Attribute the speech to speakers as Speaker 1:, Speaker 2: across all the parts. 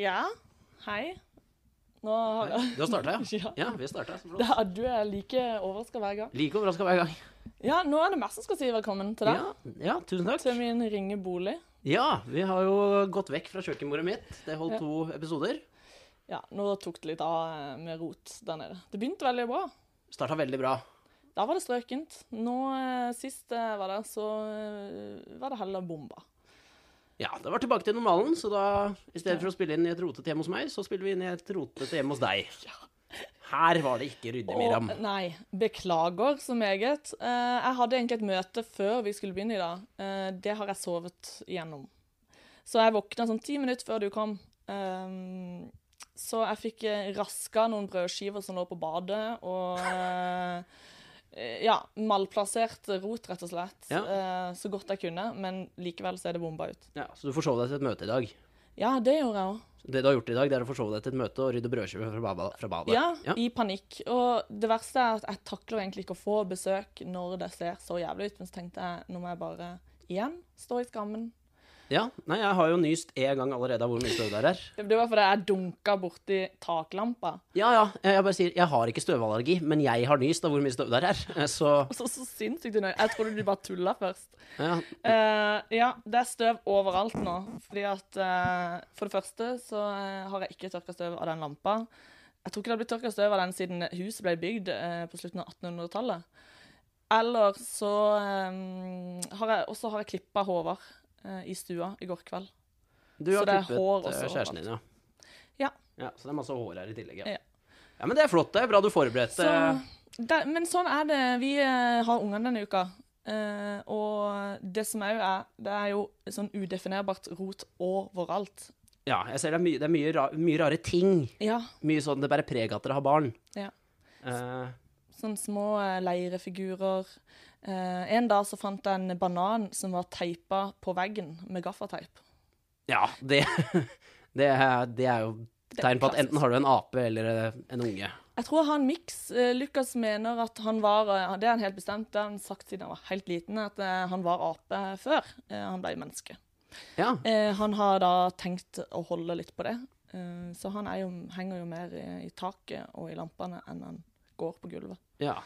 Speaker 1: Ja, hei. Nå har jeg
Speaker 2: Du har starta, ja?
Speaker 1: Ja.
Speaker 2: Ja, vi har starta.
Speaker 1: det er, Du er like overraska hver gang.
Speaker 2: Like overraska hver gang.
Speaker 1: Ja, nå er det meg som skal si velkommen til deg.
Speaker 2: Ja, ja, tusen
Speaker 1: Til
Speaker 2: takk.
Speaker 1: min ringe bolig.
Speaker 2: Ja, vi har jo gått vekk fra kjøkkenbordet mitt. Det holdt to episoder.
Speaker 1: Ja, nå tok det litt av eh, med rot der nede. Det begynte veldig bra.
Speaker 2: Starta veldig bra.
Speaker 1: Der var det strøkent. Nå eh, sist jeg var der, så eh, var det heller bomba.
Speaker 2: Ja, det var tilbake til normalen, så da i stedet for å spille inn i et rotete hjem hos meg, så spiller vi inn i et rotete hjem hos deg. Her var det ikke ryddig, Miriam.
Speaker 1: Og- nei, beklager så meget. Eh, jeg hadde egentlig et møte før vi skulle begynne i dag. Eh, det har jeg sovet igjennom. Så jeg våkna sånn ti minutter før du kom. Ehm, så jeg fikk eh, raska noen brødskiver som lå på badet, og eh, eh, ja, malplassert rot, rett og slett.
Speaker 2: Ja.
Speaker 1: eh, så godt jeg kunne, men likevel så er det bomba ut.
Speaker 2: Ja, så du forsov deg til et møte i dag.
Speaker 1: Ja, det gjorde jeg òg.
Speaker 2: Det du har gjort i dag, det er å forsove deg til et møte og rydde brødskive fra, baba- fra badet.
Speaker 1: Ja, i panikk. Og det verste er at jeg takler egentlig ikke å få besøk når det ser så jævlig ut. Men så tenkte jeg nå må jeg bare igjen stå i skammen.
Speaker 2: ja. Nei, jeg har jo nyst én gang allerede av hvor mye støv det er her.
Speaker 1: Det det var fordi jeg dunka borti taklampa.
Speaker 2: Ja, ja. Jeg jeg bare sier, jeg har ikke støvallergi, men jeg har nyst av hvor mye støv det er. her. Eh, Så
Speaker 1: Og så, så sinnssykt unøyaktig. Jeg trodde du bare tulla først.
Speaker 2: ja.
Speaker 1: Eh, ja, det er støv overalt nå. Fordi at eh, For det første så eh, har jeg ikke tørka støv av den lampa. Jeg tror ikke det har blitt tørka støv av den siden huset ble bygd eh, på slutten av 1800-tallet. Eller så eh, har jeg også har jeg klippa Håvard eh, i stua i går kveld.
Speaker 2: Du
Speaker 1: Så
Speaker 2: har
Speaker 1: det er
Speaker 2: klippet
Speaker 1: hår
Speaker 2: eh,
Speaker 1: også
Speaker 2: kjæresten din, ja.
Speaker 1: Ja.
Speaker 2: Så det er masse hår her i tillegg, ja.
Speaker 1: Ja.
Speaker 2: Ja, men det er flott. Det er bra du forberedte.
Speaker 1: Så, det, men sånn er det. Vi eh, har ungene denne uka. Eh, og det som òg er Det er jo sånn udefinerbart rot overalt.
Speaker 2: Ja, jeg ser det er, mye, det er mye, ra mye rare ting.
Speaker 1: Ja.
Speaker 2: Mye sånn det bærer preg av at dere har barn.
Speaker 1: ja.
Speaker 2: Eh,
Speaker 1: Sånne små eh, leirefigurer. Eh, en dag så fant jeg en banan som var teipa på veggen med gaffateip.
Speaker 2: ja, det, det, er, det er jo
Speaker 1: er
Speaker 2: tegn på at
Speaker 1: klassisk.
Speaker 2: enten har du en ape eller eh, en unge.
Speaker 1: Jeg tror jeg har en miks. Eh, Lukas mener at han var eh, Det er han helt bestemt, det har han sagt siden han var helt liten, at eh, han var ape før eh, han ble menneske.
Speaker 2: Ja,
Speaker 1: Eh, han har da tenkt å holde litt på det, eh, så han er jo, henger jo mer i, i taket og i lampene enn han går på gulvet.
Speaker 2: ja.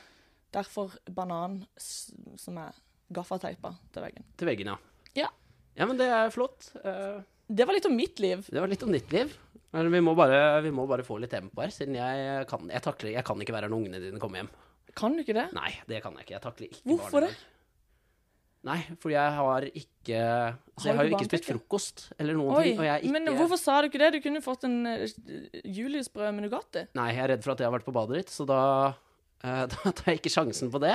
Speaker 1: Derfor banan s- som er gaffateipa til veggen.
Speaker 2: Til veggen, ja.
Speaker 1: Ja.
Speaker 2: Ja, men det er flott. Eh,
Speaker 1: Det var litt om mitt liv.
Speaker 2: det var litt om ditt liv. Men vi må bare, vi må bare få litt tempo her, siden jeg kan, jeg, takler, jeg kan ikke være her når ungene dine kommer hjem.
Speaker 1: Kan du ikke det?
Speaker 2: Nei, det kan jeg ikke. Jeg takler ikke
Speaker 1: Hvorfor
Speaker 2: barn i dag. Nei, fordi jeg har ikke altså, Jeg
Speaker 1: du
Speaker 2: har
Speaker 1: barn,
Speaker 2: jo ikke spist
Speaker 1: tenker jeg?
Speaker 2: frokost eller noen
Speaker 1: Oi,
Speaker 2: ting. Og jeg er ikke
Speaker 1: men hvorfor sa du ikke det? Du kunne jo fått en eh, juliusbrød med Nugatti.
Speaker 2: Nei, jeg er redd for at jeg har vært på badet ditt, så da, eh, da tar jeg ikke sjansen på det.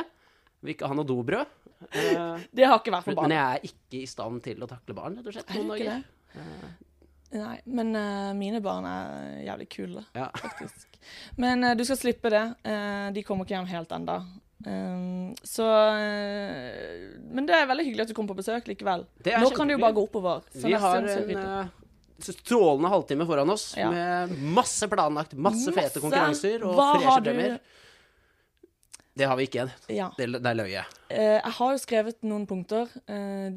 Speaker 2: Vil ikke ha noe dobrød. Eh,
Speaker 1: Det har ikke vært på
Speaker 2: men
Speaker 1: banen.
Speaker 2: jeg er ikke i stand til å takle barn, rett og slett.
Speaker 1: Er du
Speaker 2: noen
Speaker 1: ikke
Speaker 2: dager.
Speaker 1: det?
Speaker 2: Eh.
Speaker 1: Nei, men eh, mine barn er jævlig kule,
Speaker 2: Ja.
Speaker 1: faktisk. Men eh, du skal slippe det. Eh, de kommer ikke hjem helt ennå. Um, så eh, Men det er veldig hyggelig at du kommer på besøk likevel.
Speaker 2: Det er
Speaker 1: Nå kan det jo
Speaker 2: kjempehyggelig.
Speaker 1: bare gå oppover. så neste
Speaker 2: Vi
Speaker 1: gang
Speaker 2: har
Speaker 1: så rydder
Speaker 2: en
Speaker 1: du.
Speaker 2: eh, strålende halvtime foran oss
Speaker 1: Ja.
Speaker 2: med masse planlagt, masse
Speaker 1: Masse.
Speaker 2: fete konkurranser og
Speaker 1: Hva har
Speaker 2: freshe
Speaker 1: du-
Speaker 2: premier. Det har vi ikke igjen.
Speaker 1: ja.
Speaker 2: Det, det er løye.
Speaker 1: Eh, jeg har jo skrevet noen punkter. Eh,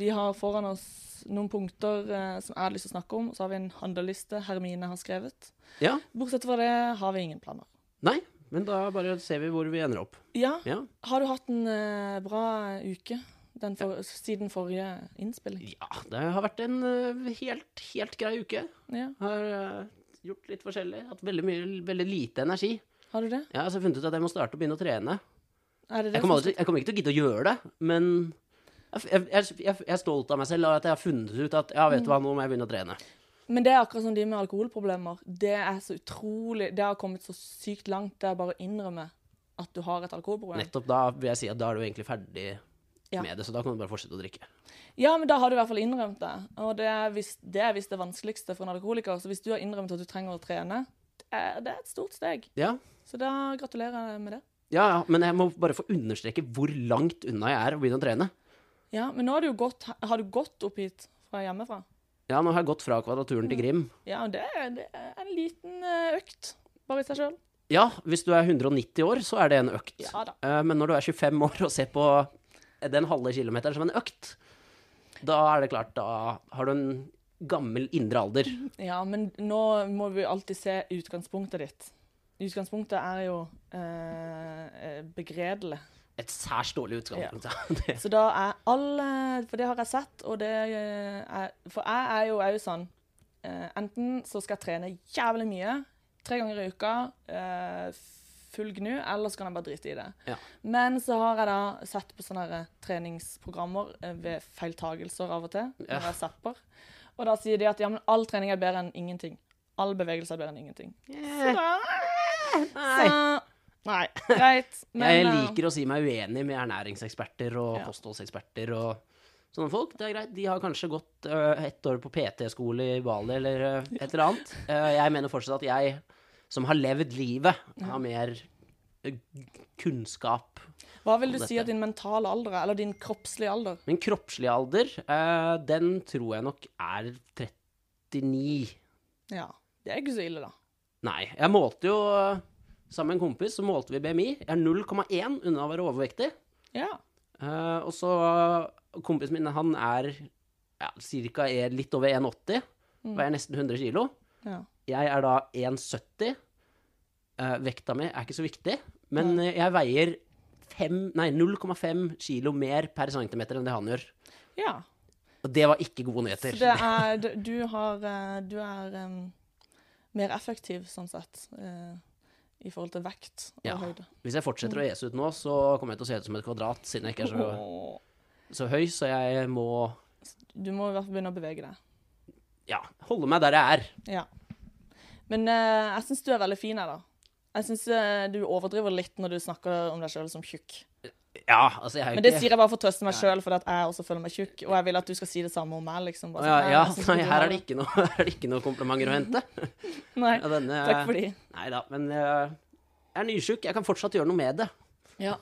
Speaker 1: vi har foran oss noen punkter eh, som jeg har lyst til å snakke om. Så har vi en handleliste Hermine har skrevet.
Speaker 2: Ja.
Speaker 1: Bortsett fra det har vi ingen planer.
Speaker 2: Nei, men da bare ser vi hvor vi ender opp.
Speaker 1: Ja,
Speaker 2: Ja.
Speaker 1: har du hatt en eh, bra uke den for, siden forrige innspilling?
Speaker 2: Ja, det har vært en eh, helt, helt grei uke.
Speaker 1: Ja.
Speaker 2: Har eh, gjort litt forskjellig. Hatt veldig, mye, veldig lite energi.
Speaker 1: Har du det?
Speaker 2: Jeg har altså funnet ut at jeg må starte å begynne å trene.
Speaker 1: Er det det
Speaker 2: Jeg kommer,
Speaker 1: som-
Speaker 2: aldri, jeg kommer ikke til å gidde å gjøre det, men jeg, jeg, jeg, jeg er stolt av meg selv av at jeg har funnet ut at ja, vet du hva, nå må jeg begynne å trene.
Speaker 1: Men det er akkurat som de med alkoholproblemer. Det er så utrolig Det har kommet så sykt langt. Det er bare å innrømme at du har et alkoholproblem.
Speaker 2: Nettopp da vil jeg si at da er du egentlig ferdig
Speaker 1: Ja.
Speaker 2: med det, så da kan du bare fortsette å drikke.
Speaker 1: Ja, men da har du i hvert fall innrømt det. Og det er visst det, er visst det vanskeligste for en alkoholiker. Så hvis du har innrømt at du trenger å trene, det er, det er et stort steg.
Speaker 2: Ja.
Speaker 1: Så da gratulerer jeg med det.
Speaker 2: Ja, ja, men jeg må bare få understreke hvor langt unna jeg er å begynne å trene.
Speaker 1: Ja, Men nå har du jo gått Har du gått opp hit fra hjemmefra?
Speaker 2: Ja, nå har jeg gått fra kvadraturen til Grim.
Speaker 1: Ja, og det er, det er en liten eh, økt bare i seg sjøl.
Speaker 2: Ja, hvis du er 190 år, så er det en økt.
Speaker 1: Ja da.
Speaker 2: Eh, Men når du er 25 år og ser på den halve kilometeren som en økt, da er det klart, da har du en gammel indre alder.
Speaker 1: Ja, men nå må vi alltid se utgangspunktet ditt. Utgangspunktet er jo eh, begredelig.
Speaker 2: Et særs dårlig utgangspunkt. Ja. Det-
Speaker 1: Så da er alle For det har jeg sett, og det eh, er For jeg er jo òg sånn eh, Enten så skal jeg trene jævlig mye, tre ganger i uka, eh, full gnu, eller så kan jeg bare drite i det.
Speaker 2: Ja.
Speaker 1: Men så har jeg da sett på sånne her eh, treningsprogrammer eh, ved feiltagelser av og til, når
Speaker 2: Ja.
Speaker 1: jeg zapper, og da sier de at ja, men all trening er bedre enn ingenting. All bevegelse er bedre enn ingenting. Så da
Speaker 2: Nei.
Speaker 1: Så, nei, greit.
Speaker 2: Jeg
Speaker 1: eh,
Speaker 2: liker å si meg uenig med ernæringseksperter og
Speaker 1: Ja.
Speaker 2: kostholdseksperter og sånne folk. Det er greit. De har kanskje gått øh, ett år på PT-skole i Bali eller øh, et eller annet. Eh, jeg mener fortsatt at jeg, som har levd livet, har mer øh, kunnskap.
Speaker 1: Hva vil du
Speaker 2: om
Speaker 1: si
Speaker 2: dette.
Speaker 1: at din mentale alder er, eller din kroppslige alder?
Speaker 2: Min kroppslige alder, eh, den tror jeg nok er 39.
Speaker 1: Ja. Det er ikke så ille, da.
Speaker 2: Nei. Jeg målte jo øh, Sammen med en kompis så målte vi BMI. Jeg er 0,1 unna å være overvektig.
Speaker 1: Ja.
Speaker 2: Eh, og så Kompisen min han er ja, cirka er litt over 1,80.
Speaker 1: Mm.
Speaker 2: Veier nesten 100 kilo.
Speaker 1: ja.
Speaker 2: Jeg er da 1,70. Eh, vekta mi er ikke så viktig, men eh, jeg veier fem- nei, 0,5 kilo mer per centimeter enn det han gjør.
Speaker 1: ja.
Speaker 2: Og det var ikke
Speaker 1: Så
Speaker 2: gode nyheter.
Speaker 1: det er det- Du har eh, Du er em, mer effektiv, sånn sett, eh, i forhold til vekt og
Speaker 2: Ja.
Speaker 1: høyde.
Speaker 2: Hvis jeg fortsetter å ese ut nå, så kommer jeg til å se ut som et kvadrat, siden jeg ikke er så,
Speaker 1: Mm. Åh.
Speaker 2: så høy, så jeg må
Speaker 1: Du må i hvert fall begynne å bevege deg.
Speaker 2: ja, holde meg der jeg er.
Speaker 1: Ja. Men eh, jeg syns du er veldig fin her, da. Jeg syns eh, du overdriver litt når du snakker om deg sjøl som tjukk.
Speaker 2: Ja, altså jeg er jo
Speaker 1: Men det
Speaker 2: ikke
Speaker 1: sier jeg bare for å trøste meg sjøl, fordi at jeg også føler meg tjukk. Og jeg vil at du skal si det samme om meg, liksom. Bare
Speaker 2: Å ja,
Speaker 1: sånn,
Speaker 2: ja,
Speaker 1: jeg synes
Speaker 2: nei,
Speaker 1: du
Speaker 2: her
Speaker 1: har
Speaker 2: er det ikke noe, her er det ikke noe komplimenter å hente.
Speaker 1: Nei.
Speaker 2: Ja, denne,
Speaker 1: Takk for de.
Speaker 2: Nei da, men eh, jeg er nysjuk. Jeg kan fortsatt gjøre noe med det.
Speaker 1: Ja.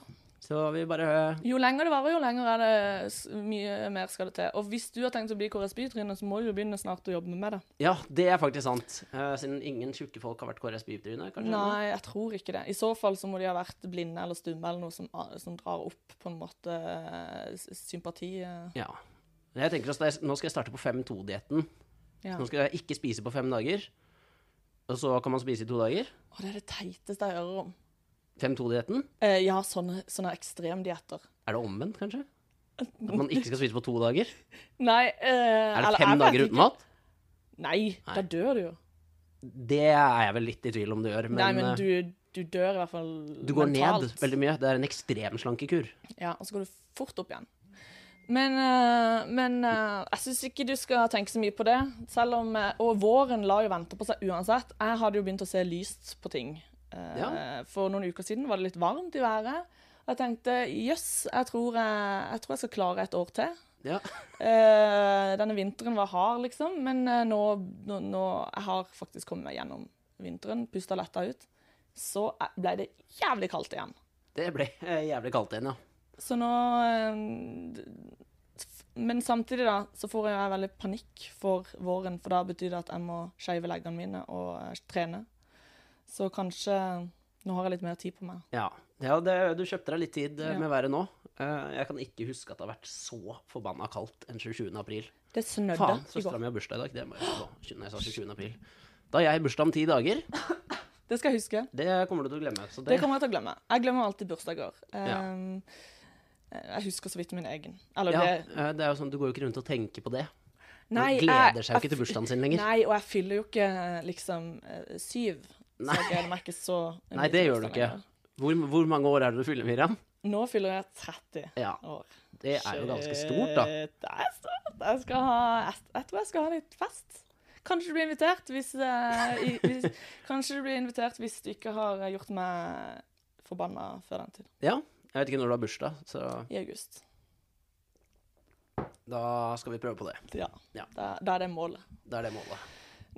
Speaker 2: Så vi bare eh,
Speaker 1: Jo lenger det varer, jo lenger er det s- mye mer skal det til. Og hvis du har tenkt å bli KRSB-tryne, så må du jo begynne snart å jobbe med det.
Speaker 2: Ja, det er faktisk sant. Eh, siden ingen tjukke folk har vært KRS-bytryne, kanskje.
Speaker 1: Nei, jeg tror ikke det. I så fall så må de ha vært blinde eller stumme eller noe som, som drar opp på en måte eh, s- sympati. eh.
Speaker 2: Ja. Men Jeg tenker også, Nå skal jeg starte på 5-2-dietten.
Speaker 1: Ja.
Speaker 2: Nå skal jeg ikke spise på fem dager. Og så kan man spise i to dager.
Speaker 1: Å, det er det teiteste jeg hører om.
Speaker 2: 5-2-dietten.
Speaker 1: Eh, ja, sånne, sånne ekstremdietter.
Speaker 2: Er det omvendt, kanskje? At man ikke skal spise på to dager?
Speaker 1: Nei eh,
Speaker 2: Er
Speaker 1: eller jeg
Speaker 2: det fem
Speaker 1: vet
Speaker 2: dager
Speaker 1: ikke.
Speaker 2: uten mat?
Speaker 1: Nei, da dør du jo.
Speaker 2: Det er jeg vel litt i tvil om du gjør. Men,
Speaker 1: Nei, men
Speaker 2: eh,
Speaker 1: du, du dør i hvert fall
Speaker 2: du går
Speaker 1: mentalt.
Speaker 2: ned veldig mye. Det er en ekstrem slankekur.
Speaker 1: Ja, og så går du fort opp igjen. Men, eh, men eh, jeg syns ikke du skal tenke så mye på det. Selv om, eh, og våren lar jo vente på seg uansett. Jeg hadde jo begynt å se lyst på ting. Eh,
Speaker 2: Ja.
Speaker 1: For noen uker siden var det litt varmt i været. Og jeg tenkte jøss, jeg, tror jeg, jeg tror jeg skal klare et år til.
Speaker 2: Ja.
Speaker 1: Eh, denne vinteren var hard, liksom, men eh, nå, nå, nå Jeg har faktisk kommet meg gjennom vinteren, pusta letta ut. Så eh, ble det jævlig kaldt igjen.
Speaker 2: Det ble eh, jævlig kaldt igjen, ja.
Speaker 1: Så nå eh, d- f- Men samtidig da, så får jeg veldig panikk for våren, for da betyr det at jeg må skeive leggene mine og eh, trene. Så kanskje Nå har jeg litt mer tid på meg.
Speaker 2: Ja, ja det, du kjøpte deg litt tid eh,
Speaker 1: Ja.
Speaker 2: med været nå. Eh, Jeg kan ikke huske at det har vært så forbanna kaldt enn 27. april.
Speaker 1: Det snødde
Speaker 2: Faen,
Speaker 1: i går.
Speaker 2: søstera mi har bursdag i dag. Det må jeg huske på. Når jeg sa 27. april. Da har jeg bursdag om ti dager.
Speaker 1: Det skal jeg huske.
Speaker 2: Det kommer du til å glemme. Så det,
Speaker 1: Det kommer jeg til å glemme. Jeg glemmer alltid bursdager.
Speaker 2: Ja.
Speaker 1: Ehm, eh, Jeg husker så vidt min egen. Eller
Speaker 2: ja,
Speaker 1: det
Speaker 2: eh, det er jo sånn, Du går jo ikke rundt og tenker på det. Du
Speaker 1: Nei,
Speaker 2: gleder
Speaker 1: jeg-
Speaker 2: seg jo
Speaker 1: jeg
Speaker 2: ikke til
Speaker 1: f-
Speaker 2: bursdagen sin lenger. Nei,
Speaker 1: Nei, og jeg fyller jo ikke liksom eh, syv. Så jeg gleder meg ikke så mye
Speaker 2: det
Speaker 1: til
Speaker 2: gjør du
Speaker 1: bursdagen
Speaker 2: ikke.
Speaker 1: lenger.
Speaker 2: Hvor, hvor mange år er det du fyller, Miriam?
Speaker 1: Nå fyller jeg 30
Speaker 2: Ja,
Speaker 1: år.
Speaker 2: Det er jo ganske stort, da.
Speaker 1: Shit, Det er stort. Jeg, skal ha, jeg, jeg tror jeg skal ha litt fest. Kanskje du blir invitert hvis, eh, i, hvis Kanskje du blir invitert hvis du ikke har eh, gjort meg forbanna før den tid.
Speaker 2: Ja, Jeg vet ikke når du har bursdag, så
Speaker 1: I august.
Speaker 2: da skal vi prøve på det.
Speaker 1: Ja.
Speaker 2: Ja.
Speaker 1: Da, da er det målet.
Speaker 2: Det er det målet.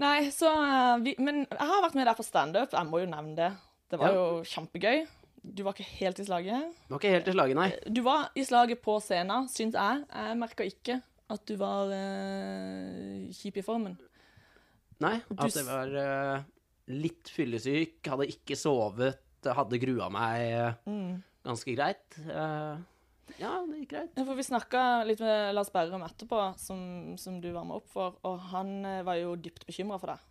Speaker 1: Nei, så eh, vi, Men jeg har vært med der på standup. Jeg må jo nevne det. Det var
Speaker 2: Ja.
Speaker 1: jo kjempegøy. Du var ikke helt i slaget.
Speaker 2: Du var ikke helt i slaget, nei.
Speaker 1: Du var i slaget på scenen, syns jeg. Jeg merka ikke at du var eh, kjip i formen.
Speaker 2: Nei,
Speaker 1: Du
Speaker 2: at det var eh, litt fyllesyk, Mm. hadde ikke sovet, hadde grua meg eh, ganske greit. Eh, Ja, det gikk greit.
Speaker 1: Ja, For vi snakka litt med Lars Berrum etterpå, som, som du var med opp for, og han eh, var jo dypt bekymra for deg.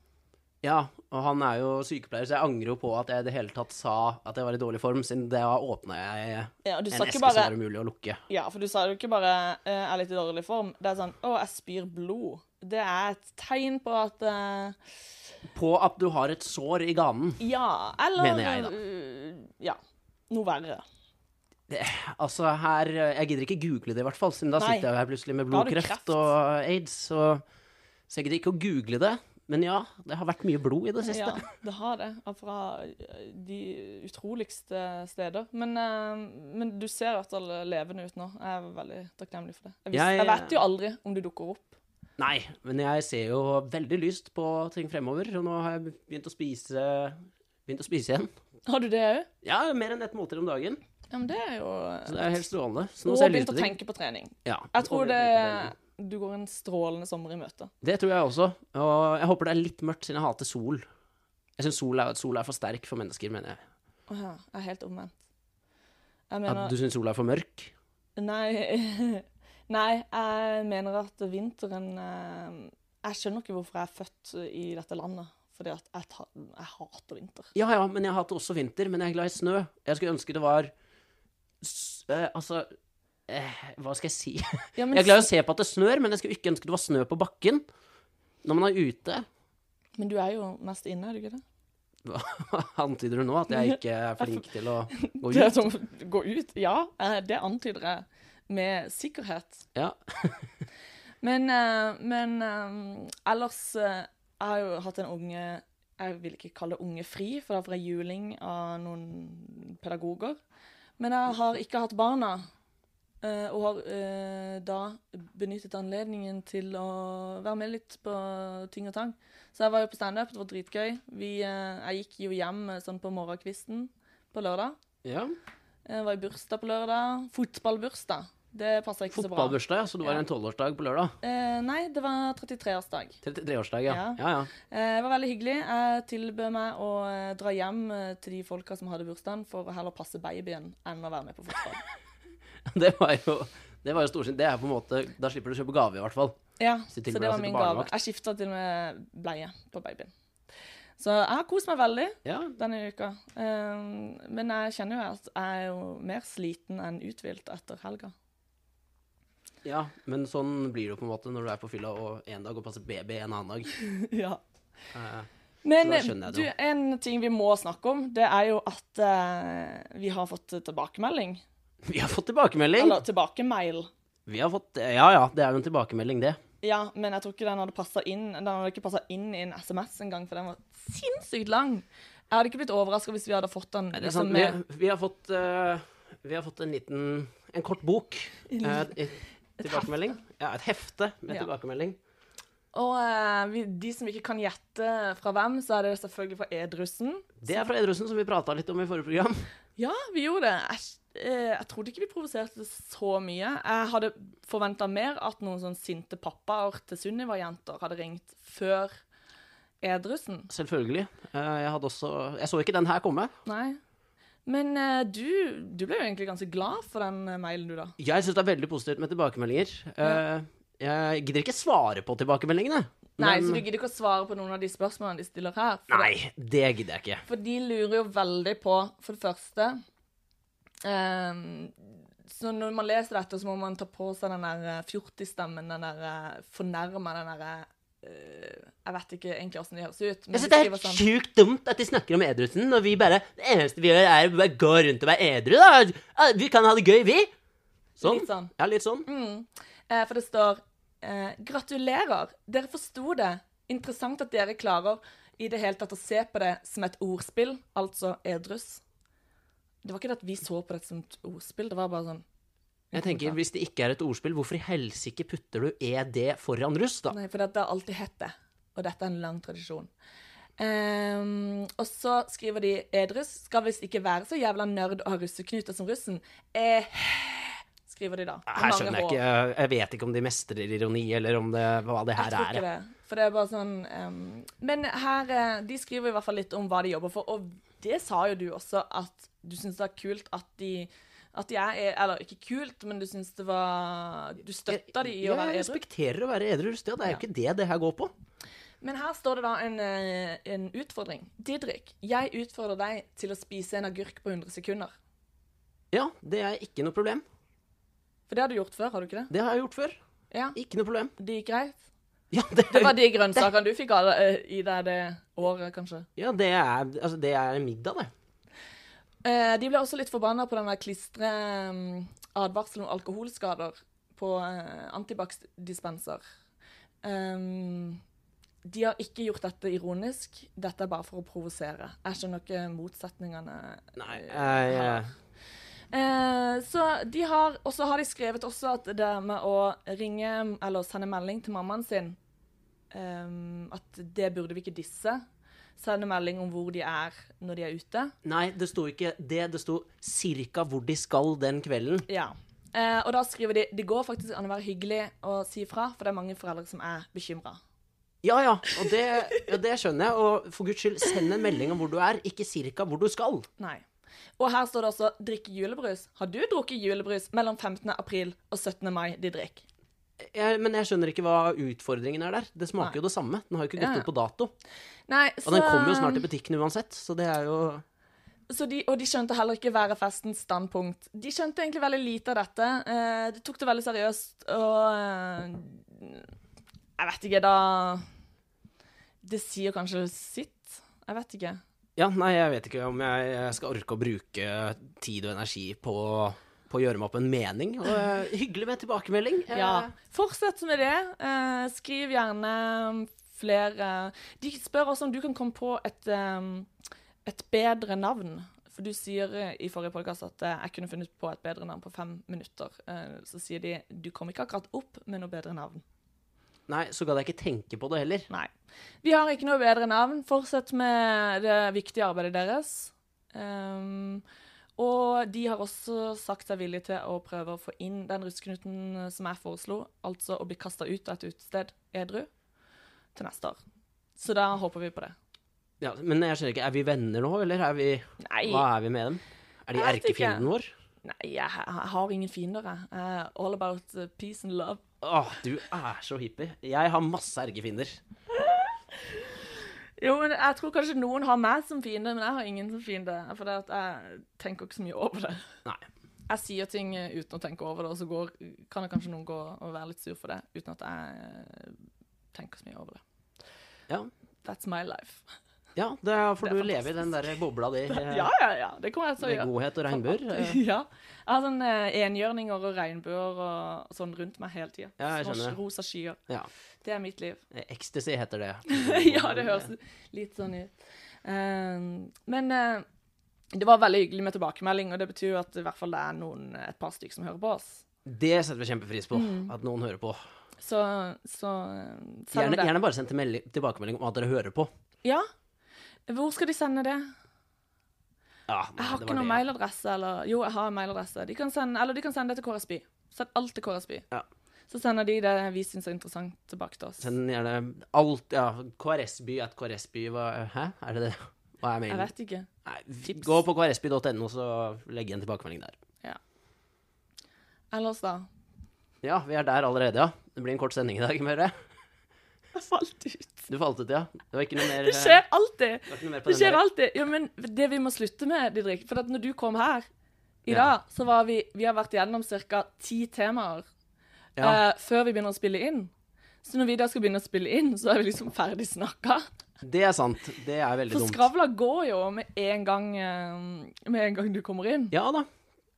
Speaker 2: Ja, og han er jo sykepleier, så jeg angrer jo på at jeg i det hele tatt sa at jeg var i dårlig form, siden da åpna jeg sånn.
Speaker 1: Ja, og du
Speaker 2: en
Speaker 1: sa
Speaker 2: eske
Speaker 1: ikke
Speaker 2: som
Speaker 1: bare
Speaker 2: var umulig å lukke.
Speaker 1: Ja, for du sa jo ikke bare eh, 'jeg er litt i dårlig form'. Det er sånn 'å, jeg spyr blod'. Det er et tegn på at eh,
Speaker 2: På at du har et sår i ganen.
Speaker 1: Ja, eller
Speaker 2: Mener jeg, da.
Speaker 1: eh, ja. Noe verre.
Speaker 2: Altså, her Jeg gidder ikke google det, i hvert fall, siden da
Speaker 1: Nei.
Speaker 2: sitter jeg jo her plutselig
Speaker 1: Da
Speaker 2: med
Speaker 1: har du
Speaker 2: blodkreft
Speaker 1: kreft.
Speaker 2: og aids, så, så jeg gidder ikke å google det. Men ja, det har vært mye blod i det siste.
Speaker 1: Ja, det har det. og Fra eh, de utroligste steder. Men, eh, men du ser i hvert fall levende ut nå. Jeg er veldig takknemlig for det. Jeg, vis,
Speaker 2: Jeg-
Speaker 1: jeg vet jo aldri om du dukker opp.
Speaker 2: Nei, men jeg ser jo veldig lyst på ting fremover, og nå har jeg begynt å spise, begynt å spise igjen.
Speaker 1: Har du det òg?
Speaker 2: Ja, mer enn ett måltid om dagen,
Speaker 1: Ja, men det er jo
Speaker 2: så det er helt strålende. Så nå
Speaker 1: Og
Speaker 2: ser jeg
Speaker 1: begynt
Speaker 2: lyst
Speaker 1: å
Speaker 2: på ting.
Speaker 1: tenke på trening.
Speaker 2: Ja,
Speaker 1: Jeg
Speaker 2: og
Speaker 1: tror
Speaker 2: begynte
Speaker 1: det
Speaker 2: å tenke på ting.
Speaker 1: du går en strålende sommer i møte.
Speaker 2: Det tror jeg også. Og jeg håper det er litt mørkt, siden jeg hater sol. Jeg syns sol, er- sol er for sterk for mennesker, mener jeg.
Speaker 1: Å ja, jeg er helt omvendt. Jeg
Speaker 2: At
Speaker 1: mener
Speaker 2: du syns sol er for mørk?
Speaker 1: Nei. Nei, jeg mener at vinteren eh, Jeg skjønner ikke hvorfor jeg er født i dette landet. Fordi at jeg, ta, jeg hater vinter.
Speaker 2: Ja ja, men jeg hater også vinter. Men jeg er glad i snø. Jeg skulle ønske det var s eh, Altså eh, Hva skal jeg si? Jeg
Speaker 1: Ja, men,
Speaker 2: er glad i å se på at det snør, men jeg skulle ikke ønske det var snø på bakken. Når man er ute
Speaker 1: men du er jo mest inne, er du ikke det?
Speaker 2: Hva Antyder du nå at jeg ikke er flink til å gå
Speaker 1: Det
Speaker 2: ut?
Speaker 1: er som gå ut. Ja, eh, det antyder jeg med sikkerhet.
Speaker 2: Ja.
Speaker 1: Men, eh, men eh, ellers eh, Jeg har jo hatt en unge Jeg vil ikke kalle det unge fri, for det er fra juling av noen pedagoger. Men jeg har ikke hatt barna. eh, Og har eh, da benyttet anledningen til å være med litt på ting og tang. Så jeg var jo på standup, det var dritgøy. Vi, eh, jeg gikk jo hjem eh, sånn på morgenkvisten på lørdag.
Speaker 2: ja.
Speaker 1: Jeg var i bursdag på lørdag. Fotballbursdag. Det passer ikke så bra.
Speaker 2: Fotballbursdag, ja. Så du var i en tolvårsdag på lørdag?
Speaker 1: Eh, nei, det var 33-årsdag.
Speaker 2: 33-årsdag, ja.
Speaker 1: Ja.
Speaker 2: ja ja.
Speaker 1: Eh, det var veldig hyggelig. Jeg tilbød meg å eh, dra hjem eh, til de folka som hadde bursdagen, for å heller passe babyen enn å være med på fotball.
Speaker 2: Det var jo, det var jo storsint. Det er på en måte Da slipper du å kjøpe gave, i hvert fall.
Speaker 1: Ja,
Speaker 2: Så
Speaker 1: så det
Speaker 2: tilbød deg å
Speaker 1: var
Speaker 2: sitte
Speaker 1: min gave.
Speaker 2: barnevakt.
Speaker 1: Jeg skifta til og med bleie på babyen. Så jeg har kost meg veldig
Speaker 2: Ja,
Speaker 1: denne uka. Eh, men jeg kjenner jo at jeg er jo mer sliten enn uthvilt etter helga.
Speaker 2: ja, men sånn blir det jo på en måte når du er på fylla og en dag og passer baby en annen dag.
Speaker 1: ja.
Speaker 2: Eh,
Speaker 1: Men
Speaker 2: Så da skjønner jeg
Speaker 1: du,
Speaker 2: det
Speaker 1: en ting vi må snakke om, det er jo at eh, vi har fått tilbakemelding.
Speaker 2: vi har fått tilbakemelding!
Speaker 1: Eller tilbakemail.
Speaker 2: Vi har fått, ja ja, det er jo en tilbakemelding, det.
Speaker 1: Ja, men jeg tror ikke den hadde passa inn Den hadde ikke passa inn i en SMS engang, for den var sinnssykt lang. Jeg hadde ikke blitt overraska hvis vi hadde fått den
Speaker 2: Det sånn
Speaker 1: liksom,
Speaker 2: er sant, vi,
Speaker 1: med
Speaker 2: vi, har fått, eh, vi har fått en liten En kort bok. eh, i- tilbakemelding. Ja, et hefte med
Speaker 1: Ja.
Speaker 2: tilbakemelding.
Speaker 1: Og eh, vi, de som ikke kan gjette fra hvem, så er det selvfølgelig fra Edrussen.
Speaker 2: Det er fra Edrussen, som vi prata litt om i forrige program.
Speaker 1: Ja, vi gjorde det. Jeg, eh, jeg trodde ikke vi provoserte så mye. Jeg hadde forventa mer at noen sånn sinte pappaer til Sunniva-jenter hadde ringt før Edrussen.
Speaker 2: Eh,
Speaker 1: eh,
Speaker 2: Eh,
Speaker 1: ehm, eh, eh, sånn,
Speaker 2: Sånn.
Speaker 1: sånn, Mm. Eh, altså sånn, Ehm, Eh, sånn, eh,
Speaker 2: E,
Speaker 1: At jeg er Eller ikke kult, men du syns det var Du støtta de i å være
Speaker 2: Jeg
Speaker 1: edru.
Speaker 2: respekterer å være edru. Det er jo ikke det det her går på.
Speaker 1: Men her står det da en, eh, en utfordring. Didrik, jeg utfordrer deg til å spise en agurk på 100 sekunder.
Speaker 2: Ja, det er ikke noe problem.
Speaker 1: For det har du gjort før, har du ikke det?
Speaker 2: Det har jeg gjort før.
Speaker 1: Ja,
Speaker 2: Ikke noe problem.
Speaker 1: Det gikk greit?
Speaker 2: Ja, det,
Speaker 1: Det var de grønnsakene du fikk alle, eh, i deg det året, kanskje?
Speaker 2: ja, det, er, altså, det er middag, det.
Speaker 1: Eh, de ble også litt forbanna på den der klistre mm, advarselen om alkoholskader på eh, antibac-dispenser. Ehm, de har ikke gjort dette ironisk, dette er bare for å provosere. Jeg skjønner ikke motsetningene.
Speaker 2: Nei, jeg, jeg-
Speaker 1: Eh, så de har, Og så har de skrevet også at det med å ringe eller sende melding til mammaen sin ehm, At det burde vi ikke disse. Sende melding om hvor de er når de er ute.
Speaker 2: Nei, det sto ikke det. Det sto cirka hvor de skal den kvelden.
Speaker 1: Ja. Eh, og da skriver de det går faktisk an å være hyggelig og si fra, for det er mange foreldre som er bekymra.
Speaker 2: Ja, ja, og det, ja, det skjønner jeg. Og for guds skyld, send en melding om hvor du er, ikke cirka hvor du skal.
Speaker 1: Nei. Og her står det også 'drikke julebrus'. Har du drukket julebrus mellom 15. april og 17. mai, Didrik?
Speaker 2: Jeg, men jeg skjønner ikke hva utfordringen er der. Det smaker jo det samme. Den har jo ikke
Speaker 1: Ja,
Speaker 2: gått
Speaker 1: ja.
Speaker 2: ut på dato.
Speaker 1: Nei,
Speaker 2: Og den kommer jo snart i butikken uansett, så det er jo
Speaker 1: så de, Og de skjønte heller ikke være festens standpunkt. De skjønte egentlig veldig lite av dette. Eh, de tok det veldig seriøst, og eh, Jeg vet ikke, da Det sier kanskje sitt? Jeg vet ikke.
Speaker 2: Ja, nei, jeg vet ikke om jeg, jeg skal orke å bruke tid og energi på, på å gjøre meg opp en mening. Og eh, hyggelig med tilbakemelding. Eh,
Speaker 1: Ja. Fortsett med det. Eh, skriv gjerne um, flere De spør også om du kan komme på et, eh, et bedre navn. For du sier eh, i forrige podkast at eh, jeg kunne funnet på et bedre navn på fem minutter. Eh, så sier de du kom ikke akkurat opp med noe bedre navn.
Speaker 2: Nei, så gadd jeg ikke tenke på det heller.
Speaker 1: Nei. Vi har ikke noe bedre navn. Fortsett med det viktige arbeidet deres. Ehm, og de har også sagt seg villige til å prøve å få inn den russeknuten som jeg foreslo, altså å bli kasta ut av et utested edru, til neste år. Så da håper vi på det.
Speaker 2: Ja, men jeg skjønner ikke, er vi venner nå, eller er vi
Speaker 1: Nei,
Speaker 2: Hva er vi med dem? Er
Speaker 1: Jeg
Speaker 2: de
Speaker 1: vet ikke.
Speaker 2: erkefienden vår?
Speaker 1: nei jeg, jeg har ingen fiender, jeg. Jeg er all about uh, peace and love.
Speaker 2: Åh, du er så hippie. Jeg har masse erkefiender.
Speaker 1: Jo, men Jeg tror kanskje noen har meg som fiende, men jeg har ingen som fiende. For det at jeg tenker ikke så mye over det.
Speaker 2: Nei.
Speaker 1: jeg sier ting eh, uten å tenke over det, og så går, kan det kanskje noen gå og være litt sur for det, uten at jeg eh, tenker så mye over det.
Speaker 2: Ja,
Speaker 1: That's my life.
Speaker 2: ja da får
Speaker 1: Det er
Speaker 2: du leve i den der bobla di. eh,
Speaker 1: Ja, ja, ja. Det kommer jeg til å
Speaker 2: Med
Speaker 1: gjøre.
Speaker 2: godhet og regnbuer. eh.
Speaker 1: Ja. Jeg har sånn eh, enhjørninger og regnbuer og sånn rundt meg hele tida.
Speaker 2: Ja, jeg skjønner det.
Speaker 1: Rosa skyer.
Speaker 2: Ja.
Speaker 1: Det er mitt liv.
Speaker 2: Ecstasy heter det.
Speaker 1: ja, det høres litt sånn ut. Ehm, men eh, det var veldig hyggelig med tilbakemelding, og det betyr jo at i hvert fall det er noen, et par stykker som hører på oss.
Speaker 2: Det setter vi kjempepris på,
Speaker 1: Mm.
Speaker 2: at noen hører på.
Speaker 1: Så, så eh, selv om
Speaker 2: Gjerne,
Speaker 1: det
Speaker 2: gjerne bare send til melding- tilbakemelding om at dere hører på.
Speaker 1: Ja. Hvor skal de sende det?
Speaker 2: Ja, nei,
Speaker 1: Jeg har
Speaker 2: det
Speaker 1: ikke
Speaker 2: var
Speaker 1: noen
Speaker 2: det.
Speaker 1: mailadresse. Eller, jo, jeg har en mailadresse. De kan sende, eller de kan sende det til KRSB. Send alt til KRSB.
Speaker 2: Ja.
Speaker 1: Så sender de det vi syns er interessant, tilbake til oss.
Speaker 2: Send gjerne alt Ja, KRSby at KRSby hva, Hæ, er det det? Hva er
Speaker 1: Jeg
Speaker 2: mailen?
Speaker 1: vet ikke.
Speaker 2: Nei,
Speaker 1: Tips.
Speaker 2: gå på krsby.no, så legg igjen tilbakemelding der.
Speaker 1: Ellers, da?
Speaker 2: Ja, vi er der allerede, ja. Det blir en kort sending i dag, hører jeg.
Speaker 1: Jeg falt ut.
Speaker 2: Du falt ut, ja. Det var ikke noe mer eh,
Speaker 1: Det skjer alltid!
Speaker 2: Det var ikke noe mer på
Speaker 1: Det
Speaker 2: den
Speaker 1: skjer
Speaker 2: der.
Speaker 1: alltid. Ja, men det vi må slutte med, Didrik For at når du kom her i
Speaker 2: Ja.
Speaker 1: dag, så var vi Vi har vært gjennom ca. ti temaer
Speaker 2: Ja.
Speaker 1: eh, før vi begynner å spille inn. Så når vi da skal begynne å spille inn, så er vi liksom ferdig snakka.
Speaker 2: Det er sant. Det er veldig
Speaker 1: For
Speaker 2: dumt.
Speaker 1: skravla går jo med en gang, eh, med en gang du kommer inn.
Speaker 2: Ja da.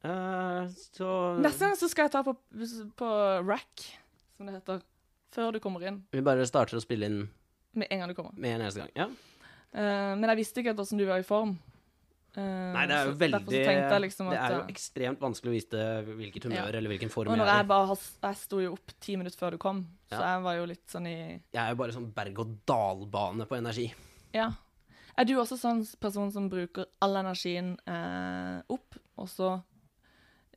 Speaker 2: Eh, så
Speaker 1: Neste gang så skal jeg ta på, på rack, som det heter. Før du kommer inn.
Speaker 2: Vi bare starter å spille inn
Speaker 1: Med en gang du kommer.
Speaker 2: med en eneste gang. Ja.
Speaker 1: Eh, men jeg visste ikke hvordan du var i form. Eh,
Speaker 2: Nei, det er jo
Speaker 1: så
Speaker 2: veldig
Speaker 1: Derfor så tenkte jeg liksom at
Speaker 2: Det er jo
Speaker 1: eh,
Speaker 2: ekstremt vanskelig å vite hvilket humør
Speaker 1: Ja.
Speaker 2: eller hvilken form
Speaker 1: Og
Speaker 2: jeg
Speaker 1: når jeg
Speaker 2: er i.
Speaker 1: bare har- Jeg sto jo opp ti minutter før du kom, så
Speaker 2: Ja.
Speaker 1: jeg var jo litt sånn i
Speaker 2: Jeg er jo bare sånn berg-og-dal-bane på energi.
Speaker 1: Ja. Er du også sånn person som bruker all energien eh, opp, og så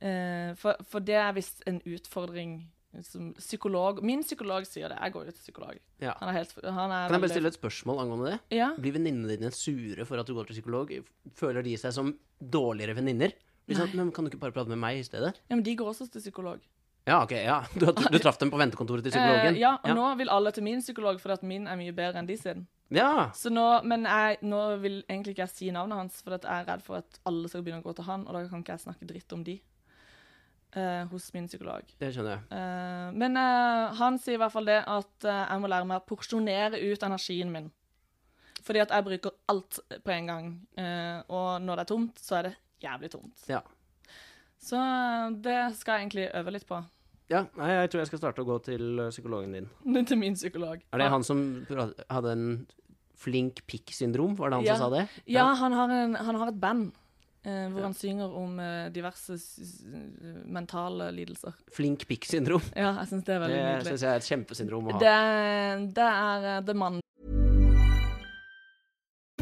Speaker 1: eh, for, for det er visst en utfordring som psykolog Min psykolog sier det. Jeg går jo til psykolog.
Speaker 2: Ja.
Speaker 1: Han er helt han er
Speaker 2: Kan jeg
Speaker 1: veldig-
Speaker 2: bare stille et spørsmål angående det?
Speaker 1: Ja.
Speaker 2: Blir venninnene dine sure for at du går til psykolog? Føler de seg som dårligere venninner Liksom, men kan du ikke bare prate med meg i stedet?
Speaker 1: Ja, men de går også til psykolog.
Speaker 2: Ja, ok, ja. Du, du traff dem på ventekontoret til
Speaker 1: Eh,
Speaker 2: psykologen?
Speaker 1: ja, og
Speaker 2: ja.
Speaker 1: nå vil alle til min psykolog, fordi at min er mye bedre enn de sin.
Speaker 2: Ja.
Speaker 1: Så nå, men jeg, nå vil egentlig ikke jeg si navnet hans, for at jeg er redd for at alle skal begynne å gå til han, og da kan ikke jeg snakke dritt om de eh, hos min psykolog.
Speaker 2: det skjønner jeg.
Speaker 1: Eh, men eh, han sier i hvert fall det at eh, jeg må lære meg å porsjonere ut energien min. Fordi at jeg bruker alt på en gang, eh, og når det er tomt, så er det jævlig tomt.
Speaker 2: Ja.
Speaker 1: Så eh, det skal jeg egentlig øve litt på.
Speaker 2: Ja, nei, jeg tror jeg skal starte å gå til eh, psykologen din.
Speaker 1: Til min psykolog.
Speaker 2: Er det han som pra- hadde en flink pikk-syndrom? Var det han
Speaker 1: Ja.
Speaker 2: som sa det?
Speaker 1: Ja, han har, en, han har et band eh, hvor han synger om eh, diverse s- s- mentale lidelser.
Speaker 2: Flink pikk-syndrom.
Speaker 1: Ja, jeg syns det er veldig
Speaker 2: Det
Speaker 1: nydelig.
Speaker 2: syns jeg er et kjempesyndrom å ha.
Speaker 1: Det, det er eh, The Mann.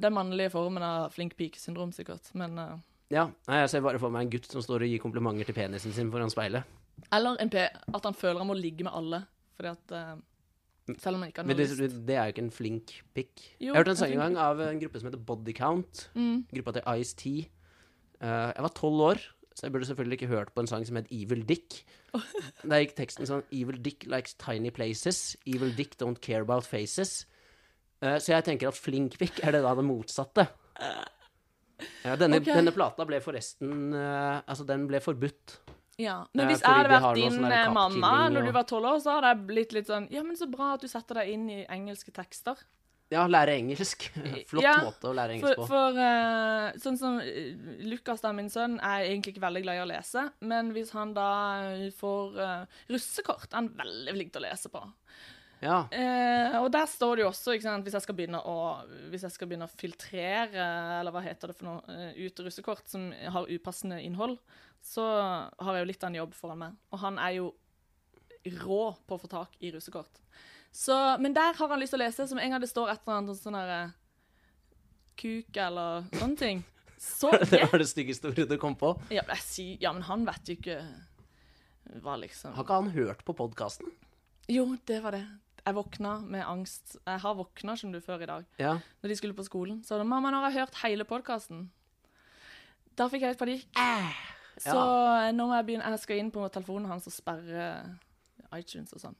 Speaker 1: Den mannlige formen av flink pike-syndrom, sikkert. Men eh,
Speaker 2: Ja, nei, Jeg ser bare for meg en gutt som står og gir komplimenter til penisen sin foran speilet.
Speaker 1: Eller en P, at han føler han må ligge med alle. Fordi at eh, Selv om han ikke har
Speaker 2: Men
Speaker 1: noe
Speaker 2: det,
Speaker 1: lyst.
Speaker 2: det er jo ikke en flink pikk.
Speaker 1: Jo,
Speaker 2: Jeg hørte en
Speaker 1: en
Speaker 2: sang
Speaker 1: flink
Speaker 2: en gang av en gruppe som heter Body Count.
Speaker 1: Mm,
Speaker 2: Gruppa til Ice-T. Eh, jeg var tolv år, så jeg burde selvfølgelig ikke hørt på en sang som het Evil Dick. Der gikk teksten sånn Evil Dick likes tiny places. Evil Dick don't care about faces. Eh, så jeg tenker at flink pikk er det da det motsatte. Ja, denne,
Speaker 1: Ok.
Speaker 2: denne plata ble forresten eh, Altså, den ble forbudt.
Speaker 1: Ja. Men
Speaker 2: Eh,
Speaker 1: hvis jeg
Speaker 2: fordi
Speaker 1: hadde
Speaker 2: de har
Speaker 1: vært
Speaker 2: noe
Speaker 1: din
Speaker 2: sånn der
Speaker 1: eh, mamma
Speaker 2: kattkilling
Speaker 1: når du
Speaker 2: og-
Speaker 1: var tolv år, så hadde jeg blitt litt sånn Ja, men så bra at du setter deg inn i engelske tekster.
Speaker 2: Ja, lære engelsk. Flott
Speaker 1: Ja,
Speaker 2: måte å lære engelsk
Speaker 1: For,
Speaker 2: på.
Speaker 1: for eh, sånn som eh, Lukas, da, min sønn, er egentlig ikke veldig glad i å lese. Men hvis han da eh, får eh, russekort, er han veldig flink til å lese på.
Speaker 2: Ja.
Speaker 1: Eh, og der står det jo også, ikke sant, hvis jeg skal begynne å, hvis jeg skal begynne å filtrere, eller hva heter det for noe, eh, ut russekort som har upassende innhold, så har jeg jo litt av en jobb foran meg. Og han er jo rå på å få tak i russekort. Så, men der har han lyst til å lese, som en gang det står et eller annet sånn derre Kuk eller sånne ting. Så
Speaker 2: Det
Speaker 1: det
Speaker 2: var det styggeste ordet du kom på.
Speaker 1: ja, men jeg sier, ja, men han vet jo ikke hva liksom
Speaker 2: Har ikke han hørt på podkasten?
Speaker 1: Jo, det var det. Jeg våkna med angst. Jeg har våkna, skjønner du, før i dag.
Speaker 2: Ja.
Speaker 1: Når de skulle på skolen. Så da, mamma, nå har jeg hørt hele podkasten. Da fikk jeg litt panikk. Så eh, nå må jeg begynne Jeg skal inn på telefonen hans og sperre iTunes og sånn.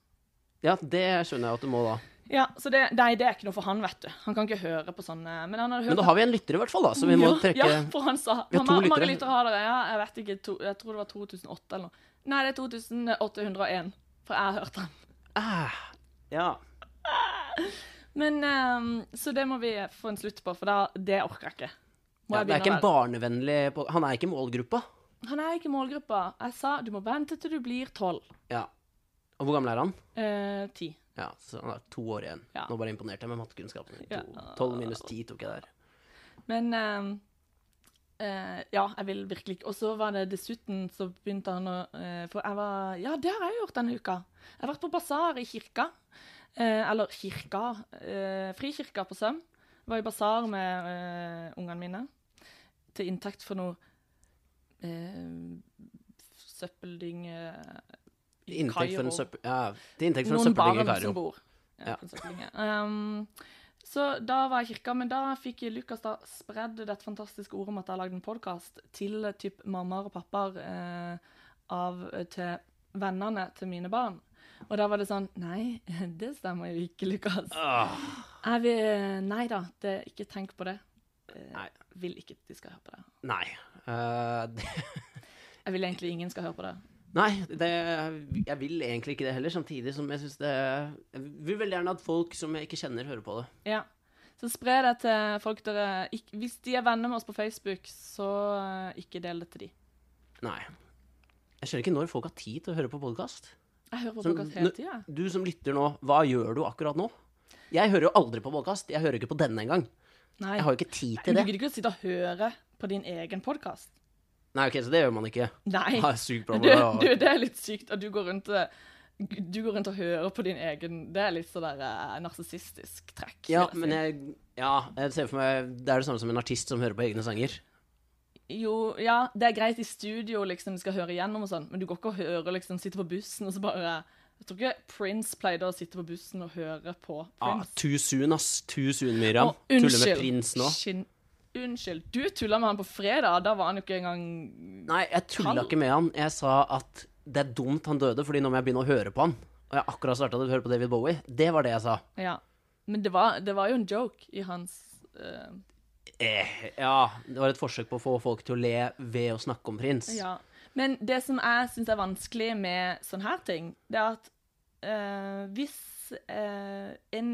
Speaker 2: ja, det skjønner jeg at du må da.
Speaker 1: Ja, så det, Nei, det er ikke noe for han, vet du. Han kan ikke høre på sånne Men han hadde hørt
Speaker 2: Men da har vi en lytter i hvert fall, da, så vi må
Speaker 1: ja,
Speaker 2: trekke
Speaker 1: Ja, for han sa
Speaker 2: Vi
Speaker 1: Mamma,
Speaker 2: har
Speaker 1: Hvor
Speaker 2: to
Speaker 1: mange
Speaker 2: lyttere.
Speaker 1: lyttere har dere? Ja, jeg vet ikke. To, jeg tror det var 2008 eller noe. Nei, det er 2801. For jeg har hørt han.
Speaker 2: Ja.
Speaker 1: Men ehm, Så det må vi få en slutt på, for da, det orker jeg ikke. Må
Speaker 2: ja
Speaker 1: jeg
Speaker 2: det er
Speaker 1: begynne
Speaker 2: ikke en
Speaker 1: å være-
Speaker 2: barnevennlig pod- Han er ikke i målgruppa.
Speaker 1: Han er ikke i målgruppa. Jeg sa du må vente til du blir tolv.
Speaker 2: Ja. Og hvor gammel er han?
Speaker 1: Eh, ti.
Speaker 2: Ja, så han er to år igjen.
Speaker 1: Ja.
Speaker 2: Nå bare imponerte jeg med mattekunnskapene.
Speaker 1: Ja.
Speaker 2: To- Tolv minus ti tok jeg der.
Speaker 1: Men ehm, eh, Ja, jeg vil virkelig ikke Og så var det dessuten så begynte han å eh, For jeg var Ja, det har jeg gjort denne uka. Jeg har vært på basar i kirka. Eh, eller kirka. Eh, frikirka på Søm. Jeg var i basar med eh, ungene mine til inntekt for noe eh, søppelding eh, i
Speaker 2: Inntekt for en
Speaker 1: Kairo.
Speaker 2: søppel... Ja, til inntekt for en
Speaker 1: noen
Speaker 2: søppeldynge i
Speaker 1: barn
Speaker 2: Kairo.
Speaker 1: som bor. Ja,
Speaker 2: Ja.
Speaker 1: på søppeldynge. Ehm, så da var jeg i kirka, men da fikk Lukas da spredd dette fantastiske ordet om at jeg har lagd en podkast til eh, typ mammaer og pappaer eh, av til vennene til mine barn. Og da var det sånn Nei, det stemmer jo ikke, Lukas.
Speaker 2: Ah.
Speaker 1: Jeg vil, nei da, det, ikke tenk på det. Eh,
Speaker 2: Nei.
Speaker 1: Vil ikke at de skal høre på det.
Speaker 2: Nei. Eh, det,
Speaker 1: Jeg vil egentlig ingen skal høre på det.
Speaker 2: nei, det Jeg vil egentlig ikke det heller, samtidig som jeg syns det Jeg vil veldig gjerne at folk som jeg ikke kjenner, hører på det.
Speaker 1: Ja. Så spre det til folk dere ikk- Hvis de er venner med oss på Facebook, så eh, ikke del det til de.
Speaker 2: Nei. Jeg skjønner ikke når folk har tid til å høre på podkast.
Speaker 1: Jeg hører på
Speaker 2: Som-
Speaker 1: podkast hele
Speaker 2: nå-
Speaker 1: tida.
Speaker 2: Du som lytter nå, hva gjør du akkurat nå? Jeg hører jo aldri på podkast. Jeg hører ikke på denne engang.
Speaker 1: Nei.
Speaker 2: Jeg har jo ikke tid
Speaker 1: Du
Speaker 2: til det.
Speaker 1: gidder ikke å sitte og høre på din egen podkast.
Speaker 2: Nei, ok, så det gjør man ikke.
Speaker 1: Nei.
Speaker 2: Ha, sug på
Speaker 1: Du,
Speaker 2: det, og-
Speaker 1: du, det er litt sykt at du går rundt eh, Du går rundt og hører på din egen Det er litt sånn der eh, narsissistisk trekk. vil
Speaker 2: Ja,
Speaker 1: jeg si.
Speaker 2: men jeg, ja, jeg ser for meg Det er det samme som en artist som hører på egne sanger.
Speaker 1: Jo, ja, det er greit i studio, liksom, du skal høre igjennom og sånn, men du går ikke og hører, liksom, sitte på bussen og så bare Jeg tror ikke Prince pleide å sitte på bussen og høre på
Speaker 2: Ah,
Speaker 1: Prince.
Speaker 2: too soon, ass. Too soon, Miriam.
Speaker 1: Å,
Speaker 2: Tuller med prins nå.
Speaker 1: Skin- Unnskyld. Du tulla med han på fredag, da var han jo ikke engang
Speaker 2: Nei, jeg tulla
Speaker 1: Kall-
Speaker 2: ikke med han. Jeg sa at det er dumt han døde, fordi nå må jeg begynne å høre på han. Og jeg har akkurat starta å høre på David Bowie. Det var det jeg sa.
Speaker 1: Ja. Men det var, det var jo en joke i hans eh,
Speaker 2: Eh, ja, det var et forsøk på å få folk til å le ved å snakke om prins.
Speaker 1: Ja. Men det som jeg syns er vanskelig med sånne her ting, det er at eh, hvis eh, en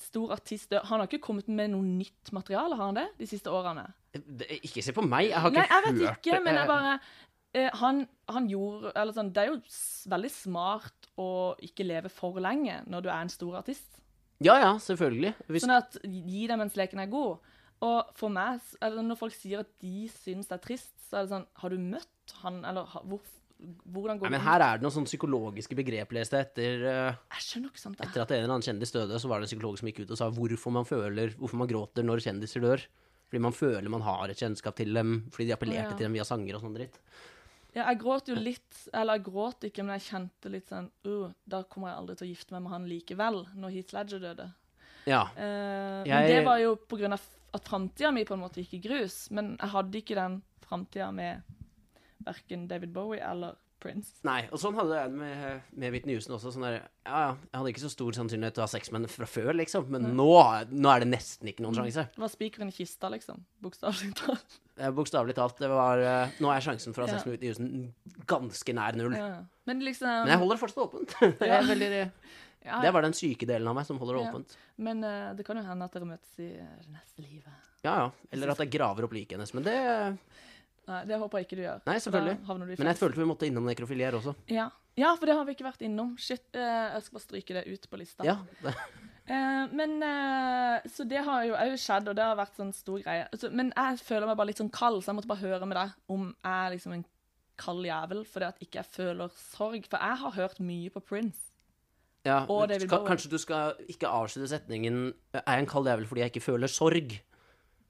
Speaker 1: stor artist dør Han har ikke kommet med noe nytt materiale, har han det, de siste årene?
Speaker 2: Det- Ikke se på meg, jeg har ikke
Speaker 1: Nei, jeg vet
Speaker 2: hørt
Speaker 1: ikke, men
Speaker 2: eh,
Speaker 1: jeg bare eh, han, han gjorde Eller sånn, det er jo s- veldig smart å ikke leve for lenge når du er en stor artist.
Speaker 2: Ja ja, selvfølgelig. Hvis,
Speaker 1: Sånn at gi deg mens leken er god. Og for meg, s- eller når folk sier at de syns det er trist, så er det sånn Har du møtt han, eller ha- hvor, hvordan går
Speaker 2: nei, men
Speaker 1: det
Speaker 2: her er det noen sånne psykologiske begrep, leste jeg etter eh,
Speaker 1: Jeg skjønner ikke sant det
Speaker 2: Etter at en eller annen kjendis døde, så var det en psykolog som gikk ut og sa hvorfor man føler, hvorfor man gråter når kjendiser dør. Fordi man føler man har et kjennskap til dem, fordi de appellerte
Speaker 1: Å, ja.
Speaker 2: til dem via sanger og sånn dritt.
Speaker 1: Ja, jeg gråt jo litt, eller jeg gråt ikke, men jeg kjente litt sånn uh, Da kommer jeg aldri til å gifte meg med han likevel, når Heath Ledger døde.
Speaker 2: Ja.
Speaker 1: Eh, Men
Speaker 2: Jeg-
Speaker 1: det var jo på grunn av at framtida mi på en måte gikk i grus. Men jeg hadde ikke den framtida med verken David Bowie eller Prince.
Speaker 2: Nei, og sånn hadde jeg det med, med Whitney Houston også. Sånn der, ja, ja, jeg hadde ikke så stor sannsynlighet til å ha sex med henne fra før, liksom, men nå, nå er det nesten ikke noen sjanse.
Speaker 1: Det var spikeren i kista, liksom. Bokstavelig talt.
Speaker 2: Eh, Bokstavelig talt, det var eh, Nå er sjansen for å ha sex
Speaker 1: Ja.
Speaker 2: med Whitney Houston ganske nær null.
Speaker 1: Ja. Men liksom
Speaker 2: Men jeg holder det fortsatt åpent. Det
Speaker 1: Ja.
Speaker 2: er veldig,
Speaker 1: ja,
Speaker 2: det er bare den syke delen av meg som holder det
Speaker 1: Ja.
Speaker 2: åpent.
Speaker 1: Men eh, det kan jo hende at dere møtes i eh, det neste livet.
Speaker 2: Ja ja. Eller at jeg graver opp liket hennes. Men det
Speaker 1: Nei, det håper jeg ikke du gjør.
Speaker 2: Nei,
Speaker 1: for da
Speaker 2: selvfølgelig.
Speaker 1: havner du i
Speaker 2: Men jeg
Speaker 1: fengsel.
Speaker 2: følte vi måtte innom nekrofili her også.
Speaker 1: Ja. ja, for det har vi ikke vært innom. Shit, eh, jeg skal bare stryke det ut på lista.
Speaker 2: Ja, det,
Speaker 1: Eh, men eh, Så det har jo òg skjedd, og det har vært sånn stor greie. Altså, men jeg føler meg bare litt sånn kald, så jeg måtte bare høre med deg om jeg er liksom en kald jævel fordi at ikke jeg føler sorg. For jeg har hørt mye på Prince.
Speaker 2: ja.
Speaker 1: Og David
Speaker 2: Ka-
Speaker 1: Bowie.
Speaker 2: Kanskje du skal ikke avslutte setningen «Jeg Er jeg en kald jævel fordi jeg ikke føler sorg?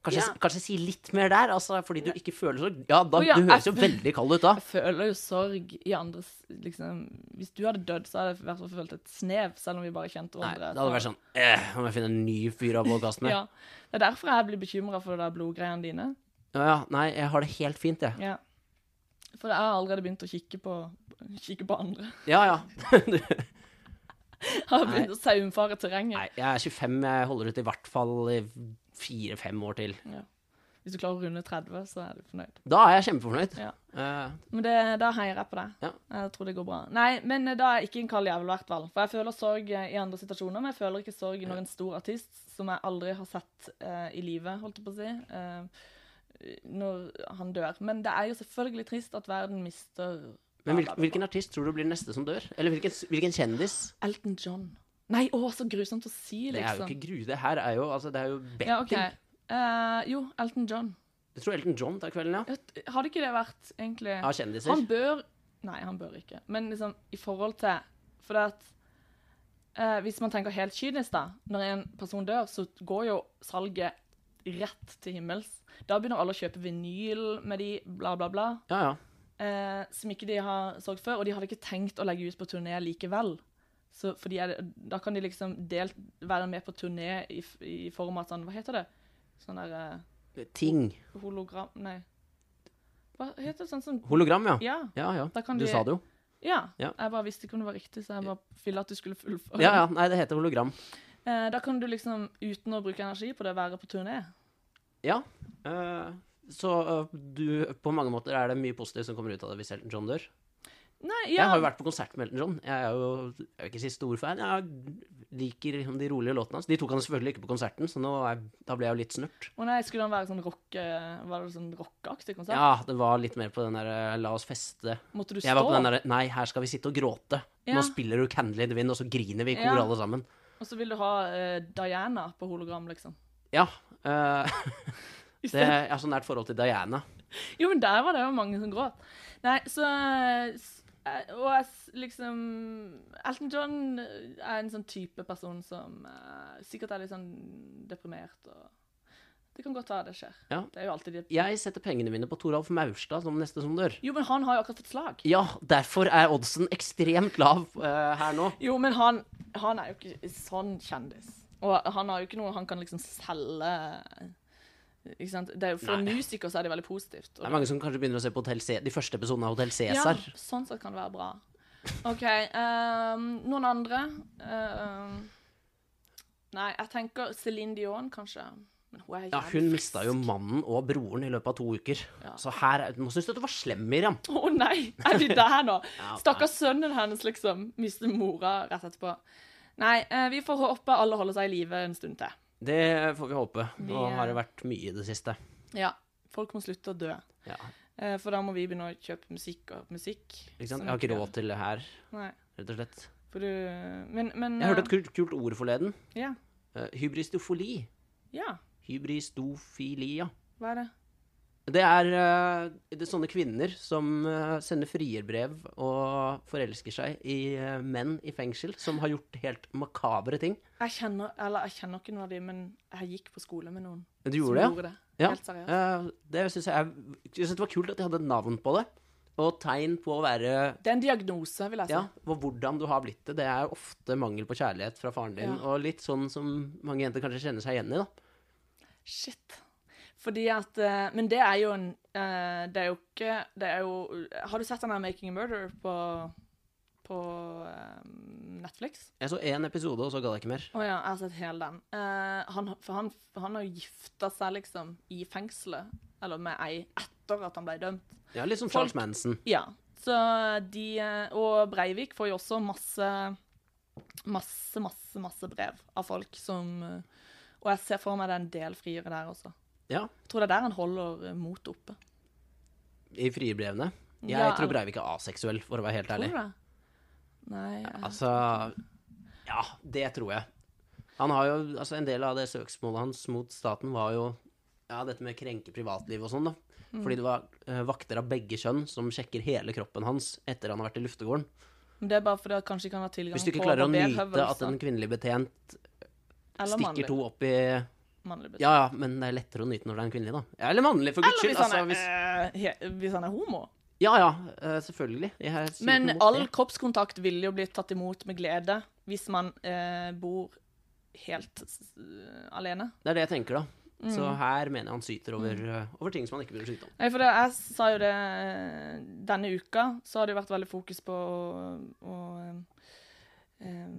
Speaker 2: Kanskje,
Speaker 1: Ja.
Speaker 2: kanskje si litt mer der, altså, fordi du ikke føler sorg? Ja, da,
Speaker 1: Å, ja,
Speaker 2: du høres jo
Speaker 1: jeg-
Speaker 2: veldig kald ut da.
Speaker 1: Jeg føler jo sorg i andres liksom, Hvis du hadde dødd, så hadde jeg i hvert fall følt et snev, selv om vi bare kjente
Speaker 2: Nei,
Speaker 1: hverandre.
Speaker 2: det hadde vært sånn eh, Nå må jeg finne en ny fyr å podkaste med.
Speaker 1: ja. Det er derfor jeg blir bekymra for det der blodgreiene dine.
Speaker 2: Ja, ja, nei, jeg har det helt fint, jeg.
Speaker 1: Ja. For jeg har allerede begynt å kikke på, kikke på andre.
Speaker 2: Ja ja. Du,
Speaker 1: Jeg har begynt å saumfare terrenget.
Speaker 2: nei, jeg er 25, jeg holder ut i hvert fall i fire-fem år til.
Speaker 1: Ja. Hvis du klarer å runde 30, så er du fornøyd.
Speaker 2: Da er jeg kjempefornøyd.
Speaker 1: Ja.
Speaker 2: Eh,
Speaker 1: Men det, da heier jeg på deg.
Speaker 2: Ja.
Speaker 1: Jeg tror det går bra. Nei, men eh, da er jeg ikke en kald jævel, i hvert fall. For jeg føler sorg eh, i andre situasjoner, men jeg føler ikke sorg når en stor artist, som jeg aldri har sett eh, i livet, holdt jeg på å si, eh, når han dør. Men det er jo selvfølgelig trist at verden mister
Speaker 2: men hvil, hvilken artist tror du blir den neste som dør? Eller hvilken, hvilken kjendis?
Speaker 1: Elton John. Nei, å, så grusomt å si, liksom.
Speaker 2: Det er jo ikke gru, det her er jo altså, Det er jo betting.
Speaker 1: Ja, ok. Eh, jo, Elton John.
Speaker 2: Jeg tror Elton John tar kvelden, ja.
Speaker 1: Vet- Hadde ikke det vært egentlig
Speaker 2: Av kjendiser.
Speaker 1: Han bør Nei, han bør ikke. Men liksom i forhold til For det at eh, hvis man tenker helt kynisk, da. Når en person dør, så går jo salget rett til himmels. Da begynner alle å kjøpe vinyl med de, bla, bla, bla.
Speaker 2: Ja, ja.
Speaker 1: Eh, som ikke de har sorg for. Og de hadde ikke tenkt å legge ut på turné likevel. Så, for de er, da kan de liksom delt, være med på turné i, f- i form av sånn Hva heter det? Sånn der eh,
Speaker 2: Ting.
Speaker 1: hologram... Nei. Hva heter det sånn som
Speaker 2: Hologram, ja.
Speaker 1: Ja.
Speaker 2: Ja, ja.
Speaker 1: Da kan
Speaker 2: du
Speaker 1: de-
Speaker 2: sa det jo.
Speaker 1: Ja.
Speaker 2: Ja.
Speaker 1: Jeg bare visste ikke om det var riktig, så jeg bare ville at du skulle fullføre.
Speaker 2: Ja, ja. Nei, det heter hologram.
Speaker 1: Eh, da kan du liksom, uten å bruke energi på det, være på turné.
Speaker 2: Ja. eh, så eh, du På mange måter er det mye positivt som kommer ut av det hvis Elton John dør.
Speaker 1: Nei,
Speaker 2: Jeg
Speaker 1: ja.
Speaker 2: har jo vært på konsert med Elton John. Jeg er jo jeg vil ikke si stor fan. Jeg liker liksom de rolige låtene hans. De tok han selvfølgelig ikke på konserten, så nå er, da ble jeg jo litt snurt.
Speaker 1: Å nei, skulle han være sånn rock, eh, var det sånn rockeaktig konsert?
Speaker 2: Ja, det var litt mer på den der eh, la oss feste.
Speaker 1: Måtte du stå?
Speaker 2: Jeg var på den der Nei, her skal vi sitte og gråte.
Speaker 1: Ja.
Speaker 2: Nå spiller du Candle in the Wind, og så griner vi i kor
Speaker 1: Ja.
Speaker 2: alle sammen.
Speaker 1: Og så vil du ha eh, Diana på hologram, liksom.
Speaker 2: Ja. eh, Eh, det, jeg har så nært forhold til Diana.
Speaker 1: Jo, men der var det jo mange som gråt. Nei, så s- eh, Og jeg s- liksom Elton John er en sånn type person som eh, sikkert er litt sånn deprimert og Det kan godt være det skjer.
Speaker 2: Ja.
Speaker 1: Det er jo alltid det.
Speaker 2: Jeg setter pengene mine på Toralf Maurstad som neste som dør.
Speaker 1: Jo, men han har jo akkurat fått slag.
Speaker 2: Ja, derfor er oddsen ekstremt lav eh, her nå.
Speaker 1: Jo, men han, han er jo ikke sånn kjendis. Og han har jo ikke noe han kan liksom selge ikke sant? Det er jo, for
Speaker 2: Nei.
Speaker 1: musikere så er det veldig positivt. Og
Speaker 2: Det er mange som kanskje begynner å se på Hotel C de første episodene av Hotel Cæsar.
Speaker 1: Ja, sånn sett kan det være bra. OK. ehm, noen andre? Ehm, nei, jeg tenker Céline Dion, kanskje. Men hun er
Speaker 2: Ja,
Speaker 1: jævlig
Speaker 2: hun
Speaker 1: frisk.
Speaker 2: mista jo mannen og broren i løpet av to uker. Så her Nå syns du at du var slem, Miriam.
Speaker 1: Å nei, er vi der nå? Stakkars sønnen hennes, liksom. Mister mora rett etterpå. Nei, eh, vi får håpe alle holder seg i live en stund til.
Speaker 2: Det får vi håpe.
Speaker 1: Vi,
Speaker 2: Nå
Speaker 1: eh,
Speaker 2: har det vært mye i det siste.
Speaker 1: Ja. Folk må slutte å dø.
Speaker 2: Ja,
Speaker 1: Eh, for da må vi begynne å kjøpe musikk og musikk.
Speaker 2: ikke sant?
Speaker 1: som
Speaker 2: Jeg har ikke
Speaker 1: gjør.
Speaker 2: råd til det her,
Speaker 1: Nei.
Speaker 2: rett og slett.
Speaker 1: For du Men, men
Speaker 2: Jeg hørte et
Speaker 1: eh,
Speaker 2: kult, kult ord forleden.
Speaker 1: Ja.
Speaker 2: Eh, hybristofili.
Speaker 1: ja.
Speaker 2: Hybristofilia.
Speaker 1: Hva er det?
Speaker 2: Det er, eh, det er sånne kvinner som eh, sender frierbrev og forelsker seg i eh, menn i fengsel som har gjort helt makabre ting.
Speaker 1: Jeg kjenner, eller jeg kjenner ikke noen av de, men jeg gikk på skole med noen.
Speaker 2: Du
Speaker 1: som
Speaker 2: gjorde det, ja?
Speaker 1: gjorde det.
Speaker 2: Ja,
Speaker 1: Helt seriøst.
Speaker 2: eh, det synes jeg, er- jeg synes det var kult at de hadde et navn på det. Og tegn på å være
Speaker 1: Det er en diagnose, vil jeg si.
Speaker 2: Ja, og hvordan du har blitt det. Det er ofte mangel på kjærlighet fra faren din,
Speaker 1: Ja.
Speaker 2: og litt sånn som mange jenter kanskje kjenner seg igjen i, da.
Speaker 1: Shit. Fordi at eh, Men det er jo en eh, Det er jo ikke Det er jo Har du sett den her Making a Murder på, på eh, Netflix?
Speaker 2: Jeg så én episode, og så gadd jeg ikke mer.
Speaker 1: Å ja, jeg har sett hele den. Eh, han, for han, for han har jo gifta seg, liksom, i fengselet. Eller med ei etter at han ble dømt.
Speaker 2: Ja, Litt som
Speaker 1: Folk-
Speaker 2: Charles Manson.
Speaker 1: Ja. Så de eh, Og Breivik får jo også masse Masse, masse, masse brev av folk som eh, Og jeg ser for meg det er en del friere der også.
Speaker 2: Ja,
Speaker 1: Jeg tror det er der han holder motet oppe.
Speaker 2: I frierbrevene. Jeg
Speaker 1: Ja,
Speaker 2: tror
Speaker 1: eller-
Speaker 2: Breivik er aseksuell, for å være helt
Speaker 1: Tror
Speaker 2: ærlig.
Speaker 1: du det? Nei
Speaker 2: Altså Ja, det tror jeg. Han har jo Altså, en del av det søksmålet hans mot staten var jo ja, dette med å krenke privatliv og sånn, da.
Speaker 1: Mm.
Speaker 2: Fordi det var eh, vakter av begge kjønn som sjekker hele kroppen hans etter han har vært i luftegården.
Speaker 1: Men det er bare fordi han kanskje ikke han har tilgang
Speaker 2: Hvis du ikke
Speaker 1: på
Speaker 2: klarer å nyte
Speaker 1: barberhøvelser.
Speaker 2: at en kvinnelig betjent
Speaker 1: Eller mannlig.
Speaker 2: stikker to opp i
Speaker 1: mannlig betjent.
Speaker 2: Ja ja, men det er lettere å nyte når det er en kvinnelig, da. Ja, eller mannlig, for guds
Speaker 1: Eller
Speaker 2: skyld.
Speaker 1: hvis han,
Speaker 2: Altså,
Speaker 1: er,
Speaker 2: hvis
Speaker 1: eh, he, hvis han er homo.
Speaker 2: Ja ja, eh, selvfølgelig. Jeg er super
Speaker 1: Men
Speaker 2: mot
Speaker 1: all
Speaker 2: det.
Speaker 1: kroppskontakt vil jo bli tatt imot med glede hvis man eh, bor helt s- alene.
Speaker 2: Det er det jeg tenker, da. Så
Speaker 1: Mm.
Speaker 2: her mener jeg han syter over, eh, over ting som han ikke burde syte om.
Speaker 1: Nei, for det, jeg sa jo det eh, Denne uka så har det jo vært veldig fokus på å, å eh,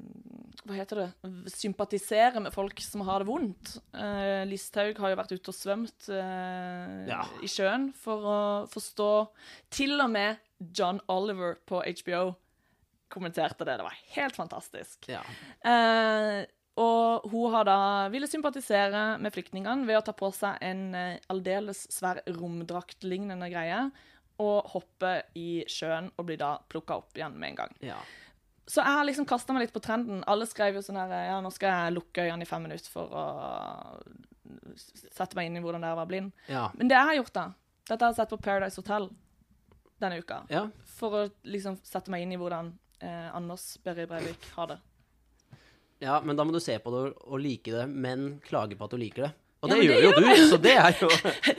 Speaker 1: Hva heter det? Sympatisere med folk som har det vondt. Eh, Listhaug har jo vært ute og svømt eh,
Speaker 2: Ja.
Speaker 1: i sjøen for å forstå Til og med John Oliver på HBO kommenterte det. Det var helt fantastisk.
Speaker 2: Ja.
Speaker 1: Eh, og hun har da ville sympatisere med flyktningene ved å ta på seg en eh, aldeles svær romdraktlignende greie og hoppe i sjøen og bli da plukka opp igjen med en gang.
Speaker 2: ja.
Speaker 1: Så jeg har liksom kasta meg litt på trenden. Alle skrev jo sånn her Ja, nå skal jeg lukke øynene i fem minutter for å sette meg inn i hvordan det er å være blind.
Speaker 2: Ja.
Speaker 1: Men det jeg har gjort, da Dette har jeg sett på Paradise Hotel denne uka.
Speaker 2: ja.
Speaker 1: For å liksom sette meg inn i hvordan eh, Anders Berry Breivik har det.
Speaker 2: Ja, men da må du se på det og- og like det, men klage på at du liker det. Og
Speaker 1: Ja,
Speaker 2: det
Speaker 1: men
Speaker 2: gjør
Speaker 1: det
Speaker 2: jo
Speaker 1: gjør
Speaker 2: du,
Speaker 1: jeg.
Speaker 2: så det er jo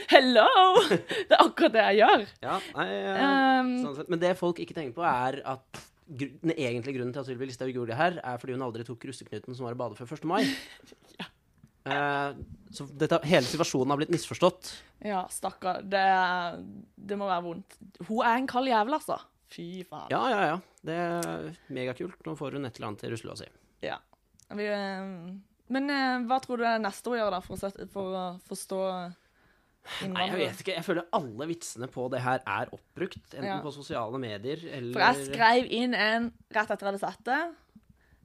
Speaker 1: Hello! Det er akkurat det jeg gjør.
Speaker 2: Ja, nei, eh,
Speaker 1: Um,
Speaker 2: sånn sett. Men det folk ikke tenker på, er at gru- den egentlige grunnen til at Sylvi Listhaug gjorde det her, er fordi hun aldri tok russeknuten som var i badet før 1. mai. Eh, så dette, hele situasjonen har blitt misforstått.
Speaker 1: Ja, stakkar. Det, det må være vondt. Hun er en kald jævel, altså. Fy faen.
Speaker 2: Ja, ja, ja. Det er megakult. Nå får hun et eller annet til russelua si.
Speaker 1: Ja. Vi, eh, men eh, hva tror du er det neste hun gjør, da, for å, sette, for å forstå
Speaker 2: Nei, jeg
Speaker 1: innvandrere?
Speaker 2: vet ikke. Jeg føler alle vitsene på det her er oppbrukt. Enten
Speaker 1: Ja.
Speaker 2: på sosiale medier eller
Speaker 1: For jeg skrev inn en rett etter jeg hadde sett det.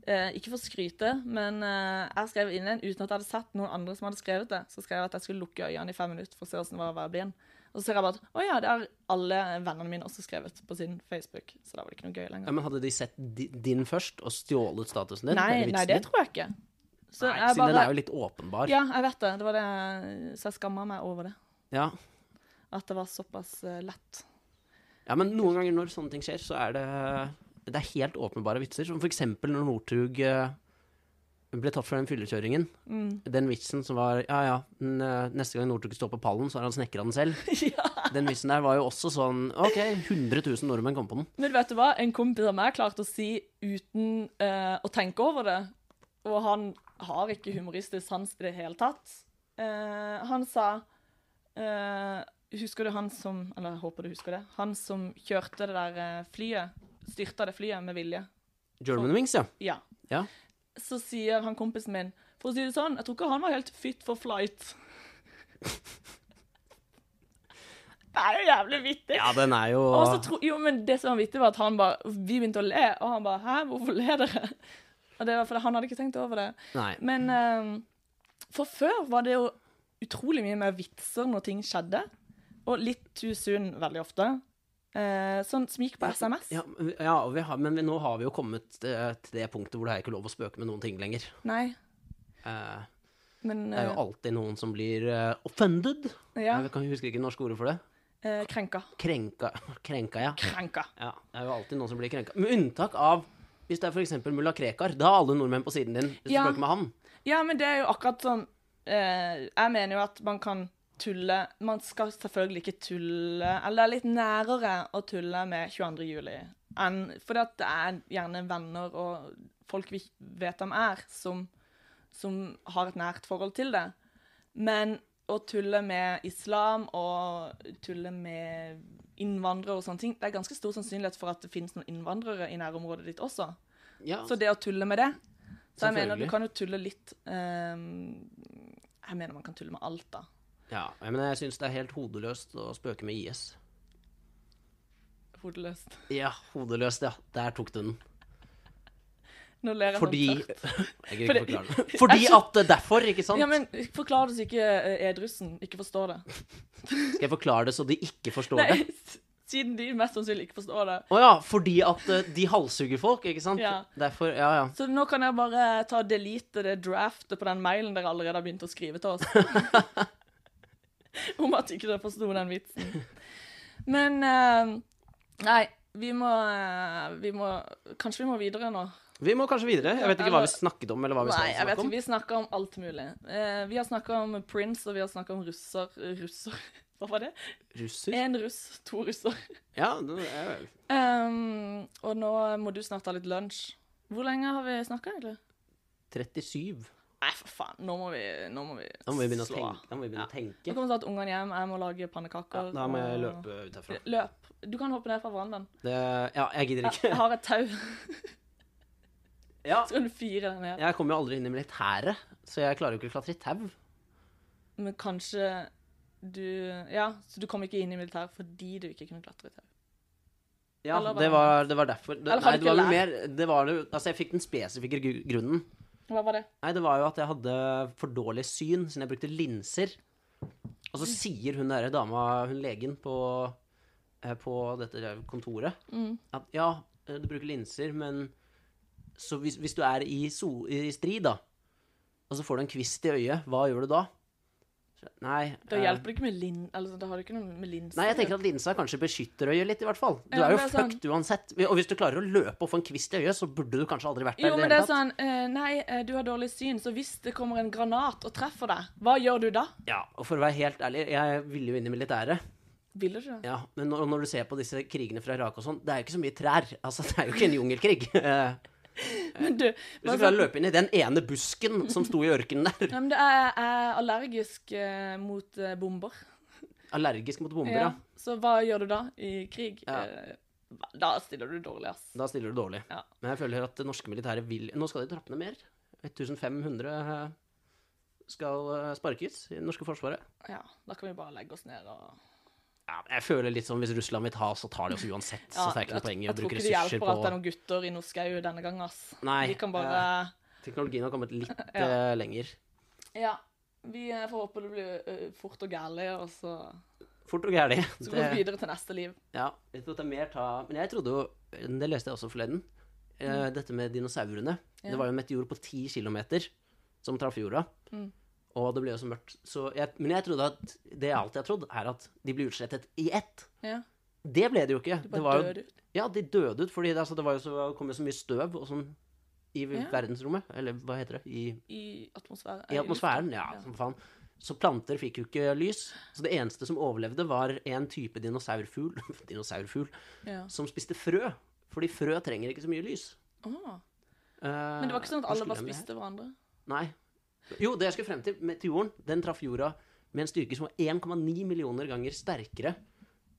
Speaker 1: Eh, ikke for å skryte, men eh, jeg skrev inn en uten at jeg hadde sett noen andre som hadde skrevet det. Så skrev jeg at jeg skulle lukke øynene i fem minutter for å se hvordan det var å være blind. Og så ser jeg bare at å ja, det har alle vennene mine også skrevet på sin Facebook. Så da var det ikke noe gøy lenger.
Speaker 2: Ja, men hadde de sett di- din først og stjålet statusen din?
Speaker 1: Nei, nei,
Speaker 2: eller vitsen
Speaker 1: det
Speaker 2: din?
Speaker 1: tror jeg ikke. Så
Speaker 2: Nei,
Speaker 1: jeg
Speaker 2: siden den
Speaker 1: bare
Speaker 2: er jo litt åpenbar.
Speaker 1: Ja, jeg vet det. det, var det jeg- så jeg skamma meg over det.
Speaker 2: Ja.
Speaker 1: At det var såpass eh, lett.
Speaker 2: Ja, men noen ganger når sånne ting skjer, så er det, det er helt åpenbare vitser. Som for eksempel når Northug eh, ble tatt for den fyllekjøringen.
Speaker 1: Mm.
Speaker 2: Den vitsen som var Ja, ja, n- eh, neste gang Northug står på pallen, så har han snekra den selv. Den vitsen der var jo også sånn OK, 100 000 nordmenn kom på den.
Speaker 1: Men vet du hva? En kompis av meg klarte å si uten eh, å tenke over det. Og han har ikke humoristisk sans i det hele tatt. Eh, han sa eh, Husker du han som Eller jeg håper du husker det. Han som kjørte det der eh, flyet. Styrta det flyet med vilje. Sånn.
Speaker 2: Germanwings, ja.
Speaker 1: Ja.
Speaker 2: ja.
Speaker 1: Så sier han kompisen min For å si det sånn, jeg tror ikke han var helt fit for flight. det er jo jævlig vittig.
Speaker 2: Ja, den er jo
Speaker 1: Og så tro, jo, men det som var vittig, var at han bare Vi begynte å le, og han bare Hæ, hvorfor ler dere? Og det var fordi han hadde ikke tenkt over det.
Speaker 2: Nei.
Speaker 1: Men eh, for før var det jo utrolig mye mer vitser når ting skjedde. Og litt too soon veldig ofte. Eh, sånn som gikk på SMS.
Speaker 2: Ja, ja og vi har, men vi, nå har vi jo kommet eh, til det punktet hvor det er ikke lov å spøke med noen ting lenger.
Speaker 1: Nei,
Speaker 2: Eh,
Speaker 1: men
Speaker 2: det er jo
Speaker 1: eh,
Speaker 2: alltid noen som blir eh, offended.
Speaker 1: Ja.
Speaker 2: Jeg kan huske ikke norsk ordet for det.
Speaker 1: eh, krenka.
Speaker 2: Krenka, krenka ja.
Speaker 1: Krenka.
Speaker 2: ja. Det er jo alltid noen som blir krenka. Med unntak av hvis det er f.eks. mulla Krekar. Da er alle nordmenn på siden din. Hvis
Speaker 1: Ja.
Speaker 2: du spøker med han.
Speaker 1: Ja, men det er jo akkurat sånn eh, Jeg mener jo at man kan tulle Man skal selvfølgelig ikke tulle Eller det er litt nærere å tulle med 22. juli enn Fordi at det er gjerne venner og folk vi vet hvem er, som, som har et nært forhold til det. Men å tulle med islam og tulle med innvandrere og sånne ting Det er ganske stor sannsynlighet for at det finnes noen innvandrere i nærområdet ditt også.
Speaker 2: Ja,
Speaker 1: Så det å tulle med det Så jeg mener
Speaker 2: Selvfølgelig.
Speaker 1: du kan jo tulle litt ehm, Jeg mener man kan tulle med alt, da.
Speaker 2: ja. Men jeg syns det er helt hodeløst å spøke med IS.
Speaker 1: Hodeløst.
Speaker 2: Ja, hodeløst, ja. Der tok du den.
Speaker 1: Nå ler jeg
Speaker 2: Fordi
Speaker 1: sånn
Speaker 2: Jeg
Speaker 1: tørt.
Speaker 2: gidder ikke
Speaker 1: Fordi-
Speaker 2: forklare det. Fordi at det er derfor, ikke sant?
Speaker 1: Ja, men forklar det så ikke eh, edrussen ikke forstår det.
Speaker 2: Skal jeg forklare det så de ikke forstår
Speaker 1: Nei,
Speaker 2: det?
Speaker 1: s- siden de mest sannsynlig ikke forstår det.
Speaker 2: Å ja, fordi at eh, de halshugger folk, ikke sant?
Speaker 1: Ja.
Speaker 2: Derfor, ja ja.
Speaker 1: Så nå kan jeg bare ta og delete det draftet på den mailen dere allerede har begynt å skrive til oss. Om at ikke dere forsto den vitsen. Men eh, Nei, vi må, eh, vi må Kanskje vi må videre nå.
Speaker 2: Vi må kanskje videre. Jeg vet ikke hva vi snakket om, eller hva vi
Speaker 1: Nei,
Speaker 2: skal
Speaker 1: jeg vet
Speaker 2: snakke
Speaker 1: ikke.
Speaker 2: om.
Speaker 1: Vi snakker om alt mulig. Eh, vi har snakka om Prince, og vi har snakka om russer Russer? Hva var det?
Speaker 2: Russer?
Speaker 1: Én russ, to russer.
Speaker 2: Ja, det er
Speaker 1: Ehm, og nå må du snart ha litt lunsj. Hvor lenge har vi snakka, egentlig?
Speaker 2: 37.
Speaker 1: Nei, for faen. Nå må vi, nå må vi
Speaker 2: Da må vi begynne å
Speaker 1: slå av.
Speaker 2: tenke. Da må vi begynne å
Speaker 1: Nå
Speaker 2: tenke.
Speaker 1: kommer snart ungene hjem, jeg må lage
Speaker 2: Ja,
Speaker 1: pannekaker.
Speaker 2: da må jeg
Speaker 1: og-
Speaker 2: løpe ut herfra.
Speaker 1: Løp. Du kan hoppe ned fra verandaen.
Speaker 2: Det, ja, jeg gidder
Speaker 1: Jeg
Speaker 2: ikke.
Speaker 1: har et tau,
Speaker 2: Ja,
Speaker 1: så kan du fire deg ned.
Speaker 2: jeg kommer jo aldri inn i militæret, så jeg klarer jo ikke å klatre i tau.
Speaker 1: Men kanskje du Ja, så du kom ikke inn i militæret fordi du ikke kunne klatre i tau.
Speaker 2: Ja,
Speaker 1: Eller hva
Speaker 2: det
Speaker 1: er
Speaker 2: var, det var derfor. Det,
Speaker 1: Eller har
Speaker 2: nei,
Speaker 1: du
Speaker 2: det var
Speaker 1: ikke
Speaker 2: vel mer det var, jo- Altså, jeg fikk den spesifikke gru- grunnen.
Speaker 1: Hva var det?
Speaker 2: Nei, det var jo at jeg hadde for dårlig syn, siden jeg brukte linser. Og så sier hun derre dama, hun legen på, eh, på dette der kontoret,
Speaker 1: Mm.
Speaker 2: at ja, eh, du bruker linser, men så hvis, hvis du er i, so, i strid, da, og så får du en kvist i øyet, hva gjør du da? Så, Nei,
Speaker 1: Da
Speaker 2: eh,
Speaker 1: hjelper det ikke med lin... Altså, da har du ikke noe med linser.
Speaker 2: Nei, jeg tenker at linsa kanskje beskytter øyet litt, i hvert fall. Du
Speaker 1: Ja,
Speaker 2: er jo
Speaker 1: men det er
Speaker 2: fucked uansett. Og hvis du klarer å løpe og få en kvist i øyet, så burde du kanskje aldri vært der.
Speaker 1: Jo,
Speaker 2: i
Speaker 1: men det
Speaker 2: hele
Speaker 1: er
Speaker 2: tatt.
Speaker 1: sånn eh, Nei, eh, du har dårlig syn, så hvis det kommer en granat og treffer deg, hva gjør du da?
Speaker 2: Ja, og for å være helt ærlig, jeg ville jo inn i militæret.
Speaker 1: Vil du ikke det?
Speaker 2: Ja, men når, når du ser på disse krigene fra Irak og sånn, det er jo ikke så mye trær. Altså, det er jo ikke en jungelkrig. Eh,
Speaker 1: Men du
Speaker 2: Hvis du klarer å løpe inn i den ene busken som sto i ørkenen der.
Speaker 1: Ja, men det er, jeg er allergisk eh, mot eh, bomber.
Speaker 2: Allergisk mot bomber, ja.
Speaker 1: Ja. Så hva gjør du da i krig?
Speaker 2: Ja.
Speaker 1: Eh, da stiller du dårlig, ass.
Speaker 2: Da stiller du dårlig.
Speaker 1: Ja.
Speaker 2: Men jeg føler at det norske militæret vil Nå skal de trappe ned mer. 1500 eh, skal eh, sparkes i det norske forsvaret.
Speaker 1: Ja, da kan vi bare legge oss ned og
Speaker 2: Ja, men jeg føler litt sånn hvis Russland vil ta, så tar de oss uansett. så det er ikke noe poeng i å
Speaker 1: tror
Speaker 2: bruke
Speaker 1: ikke det
Speaker 2: ressurser
Speaker 1: hjelper
Speaker 2: på
Speaker 1: at det er noen gutter i noe skau denne gangen, ass.
Speaker 2: Nei,
Speaker 1: Vi kan bare
Speaker 2: Teknologien har kommet litt
Speaker 1: Ja.
Speaker 2: eh, lenger.
Speaker 1: Ja. Vi eh, får håpe det blir eh, fort og gærlig, og så,
Speaker 2: Fort og gærlig.
Speaker 1: så går vi
Speaker 2: Det-
Speaker 1: videre til neste liv.
Speaker 2: Ja, jeg tror det er mer ta Men jeg trodde jo Det Mm. leste jeg også forleden. eh, Dette med dinosaurene. Det var jo en meteor på ti kilometer som traff jorda. Og det ble jo så mørkt. Så jeg, men jeg trodde at det jeg alltid har trodd, er at de blir utslettet i ett.
Speaker 1: Ja.
Speaker 2: Det ble det jo ikke.
Speaker 1: bare
Speaker 2: det var jo,
Speaker 1: dør ut.
Speaker 2: Ja, de døde ut, fordi det, altså, det var jo så, kom jo så mye støv og sånn i verdensrommet. Eller hva heter det? I
Speaker 1: I atmosfæren.
Speaker 2: i atmosfæren, ja, som faen. Så planter fikk jo ikke lys. Så det eneste som overlevde, var en type dinosaurfugl, dinosaurfugl
Speaker 1: Ja.
Speaker 2: som spiste frø. Fordi frø trenger ikke så mye lys.
Speaker 1: Ah.
Speaker 2: Eh,
Speaker 1: Men det var ikke sånn at
Speaker 2: hva
Speaker 1: alle
Speaker 2: skulle
Speaker 1: bare
Speaker 2: jeg med det her?
Speaker 1: spiste hverandre?
Speaker 2: Nei. Jo, det jeg skulle frem til, meteoren, den traff jorda med en styrke som var 1,9 millioner ganger sterkere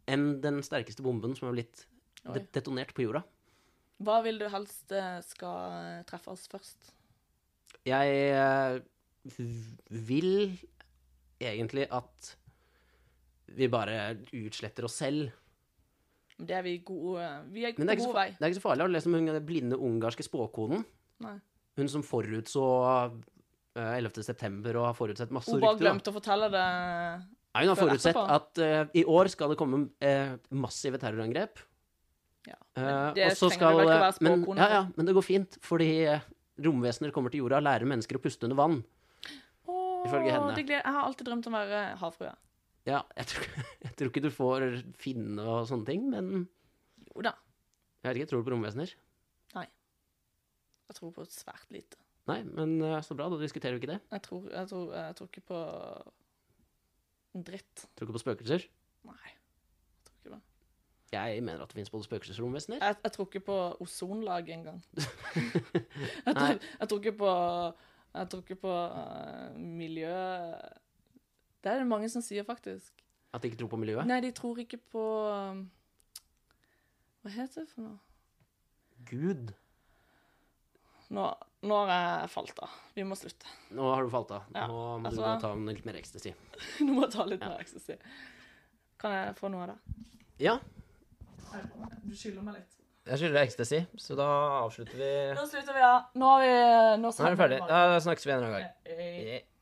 Speaker 2: enn den sterkeste bomben som har blitt de detonert på jorda.
Speaker 1: Hva vil du helst eh, skal eh, treffe oss først?
Speaker 2: Jeg eh, v- vil egentlig at vi bare utsletter oss selv.
Speaker 1: Det er vi gode eh, Vi er på
Speaker 2: Men det er, ikke
Speaker 1: god
Speaker 2: så,
Speaker 1: vei.
Speaker 2: fa- det er ikke så farlig. Har du lest om hun den blinde ungarske spåkonen?
Speaker 1: Nei.
Speaker 2: Hun som forutså eh, 11. september og har forutsett masse
Speaker 1: Hun bare
Speaker 2: rykter. da.
Speaker 1: glemte å fortelle det.
Speaker 2: Nei, hun har
Speaker 1: Før
Speaker 2: forutsett
Speaker 1: etterpå.
Speaker 2: at eh, i år skal det komme eh, massive terrorangrep.
Speaker 1: Ja.
Speaker 2: Eh,
Speaker 1: det
Speaker 2: og så
Speaker 1: trenger vi vel ikke
Speaker 2: eh,
Speaker 1: være liksom.
Speaker 2: men,
Speaker 1: spåkone
Speaker 2: ja,
Speaker 1: for.
Speaker 2: ja, men det går fint, fordi eh, romvesener kommer til jorda og lærer mennesker å puste under vann.
Speaker 1: Åh,
Speaker 2: Ifølge henne.
Speaker 1: det gleder, jeg har alltid drømt om å være havfrue.
Speaker 2: Ja, jeg tror, jeg tror ikke du får finne og sånne ting, men
Speaker 1: Jo da.
Speaker 2: jeg vet ikke, tror du på romvesener?
Speaker 1: Jeg tror på svært lite.
Speaker 2: Nei, men eh, så bra, da diskuterer vi ikke det.
Speaker 1: Jeg tror, jeg tror, jeg tror ikke på en dritt.
Speaker 2: Tror ikke på spøkelser.
Speaker 1: Nei. Jeg tror ikke det.
Speaker 2: Jeg mener at det finnes både spøkelser og romvesener.
Speaker 1: Jeg, jeg tror ikke på ozonlag engang. jeg,
Speaker 2: Nei.
Speaker 1: tror- jeg tror ikke på Jeg tror ikke på eh, miljø Det er det mange som sier, faktisk.
Speaker 2: At de ikke tror på miljøet.
Speaker 1: Nei, de tror ikke på um, Hva heter det for noe?
Speaker 2: Gud.
Speaker 1: Nå, nå har jeg falt av. Vi må slutte.
Speaker 2: Nå har du falt av. Nå
Speaker 1: Ja,
Speaker 2: må
Speaker 1: altså-
Speaker 2: du ta en litt mer ecstasy.
Speaker 1: Nå må jeg ta litt mer ecstasy. Kan jeg få noe av det?
Speaker 2: Ja,
Speaker 1: Du skylder meg litt.
Speaker 2: jeg skylder deg ecstasy, så da avslutter vi
Speaker 1: Nå slutter vi, ja. Nå er vi Nå
Speaker 2: Nå er vi
Speaker 1: savner vi
Speaker 2: ferdig.
Speaker 1: bare.
Speaker 2: Da snakkes vi en annen gang.
Speaker 1: Hei.
Speaker 2: Yeah.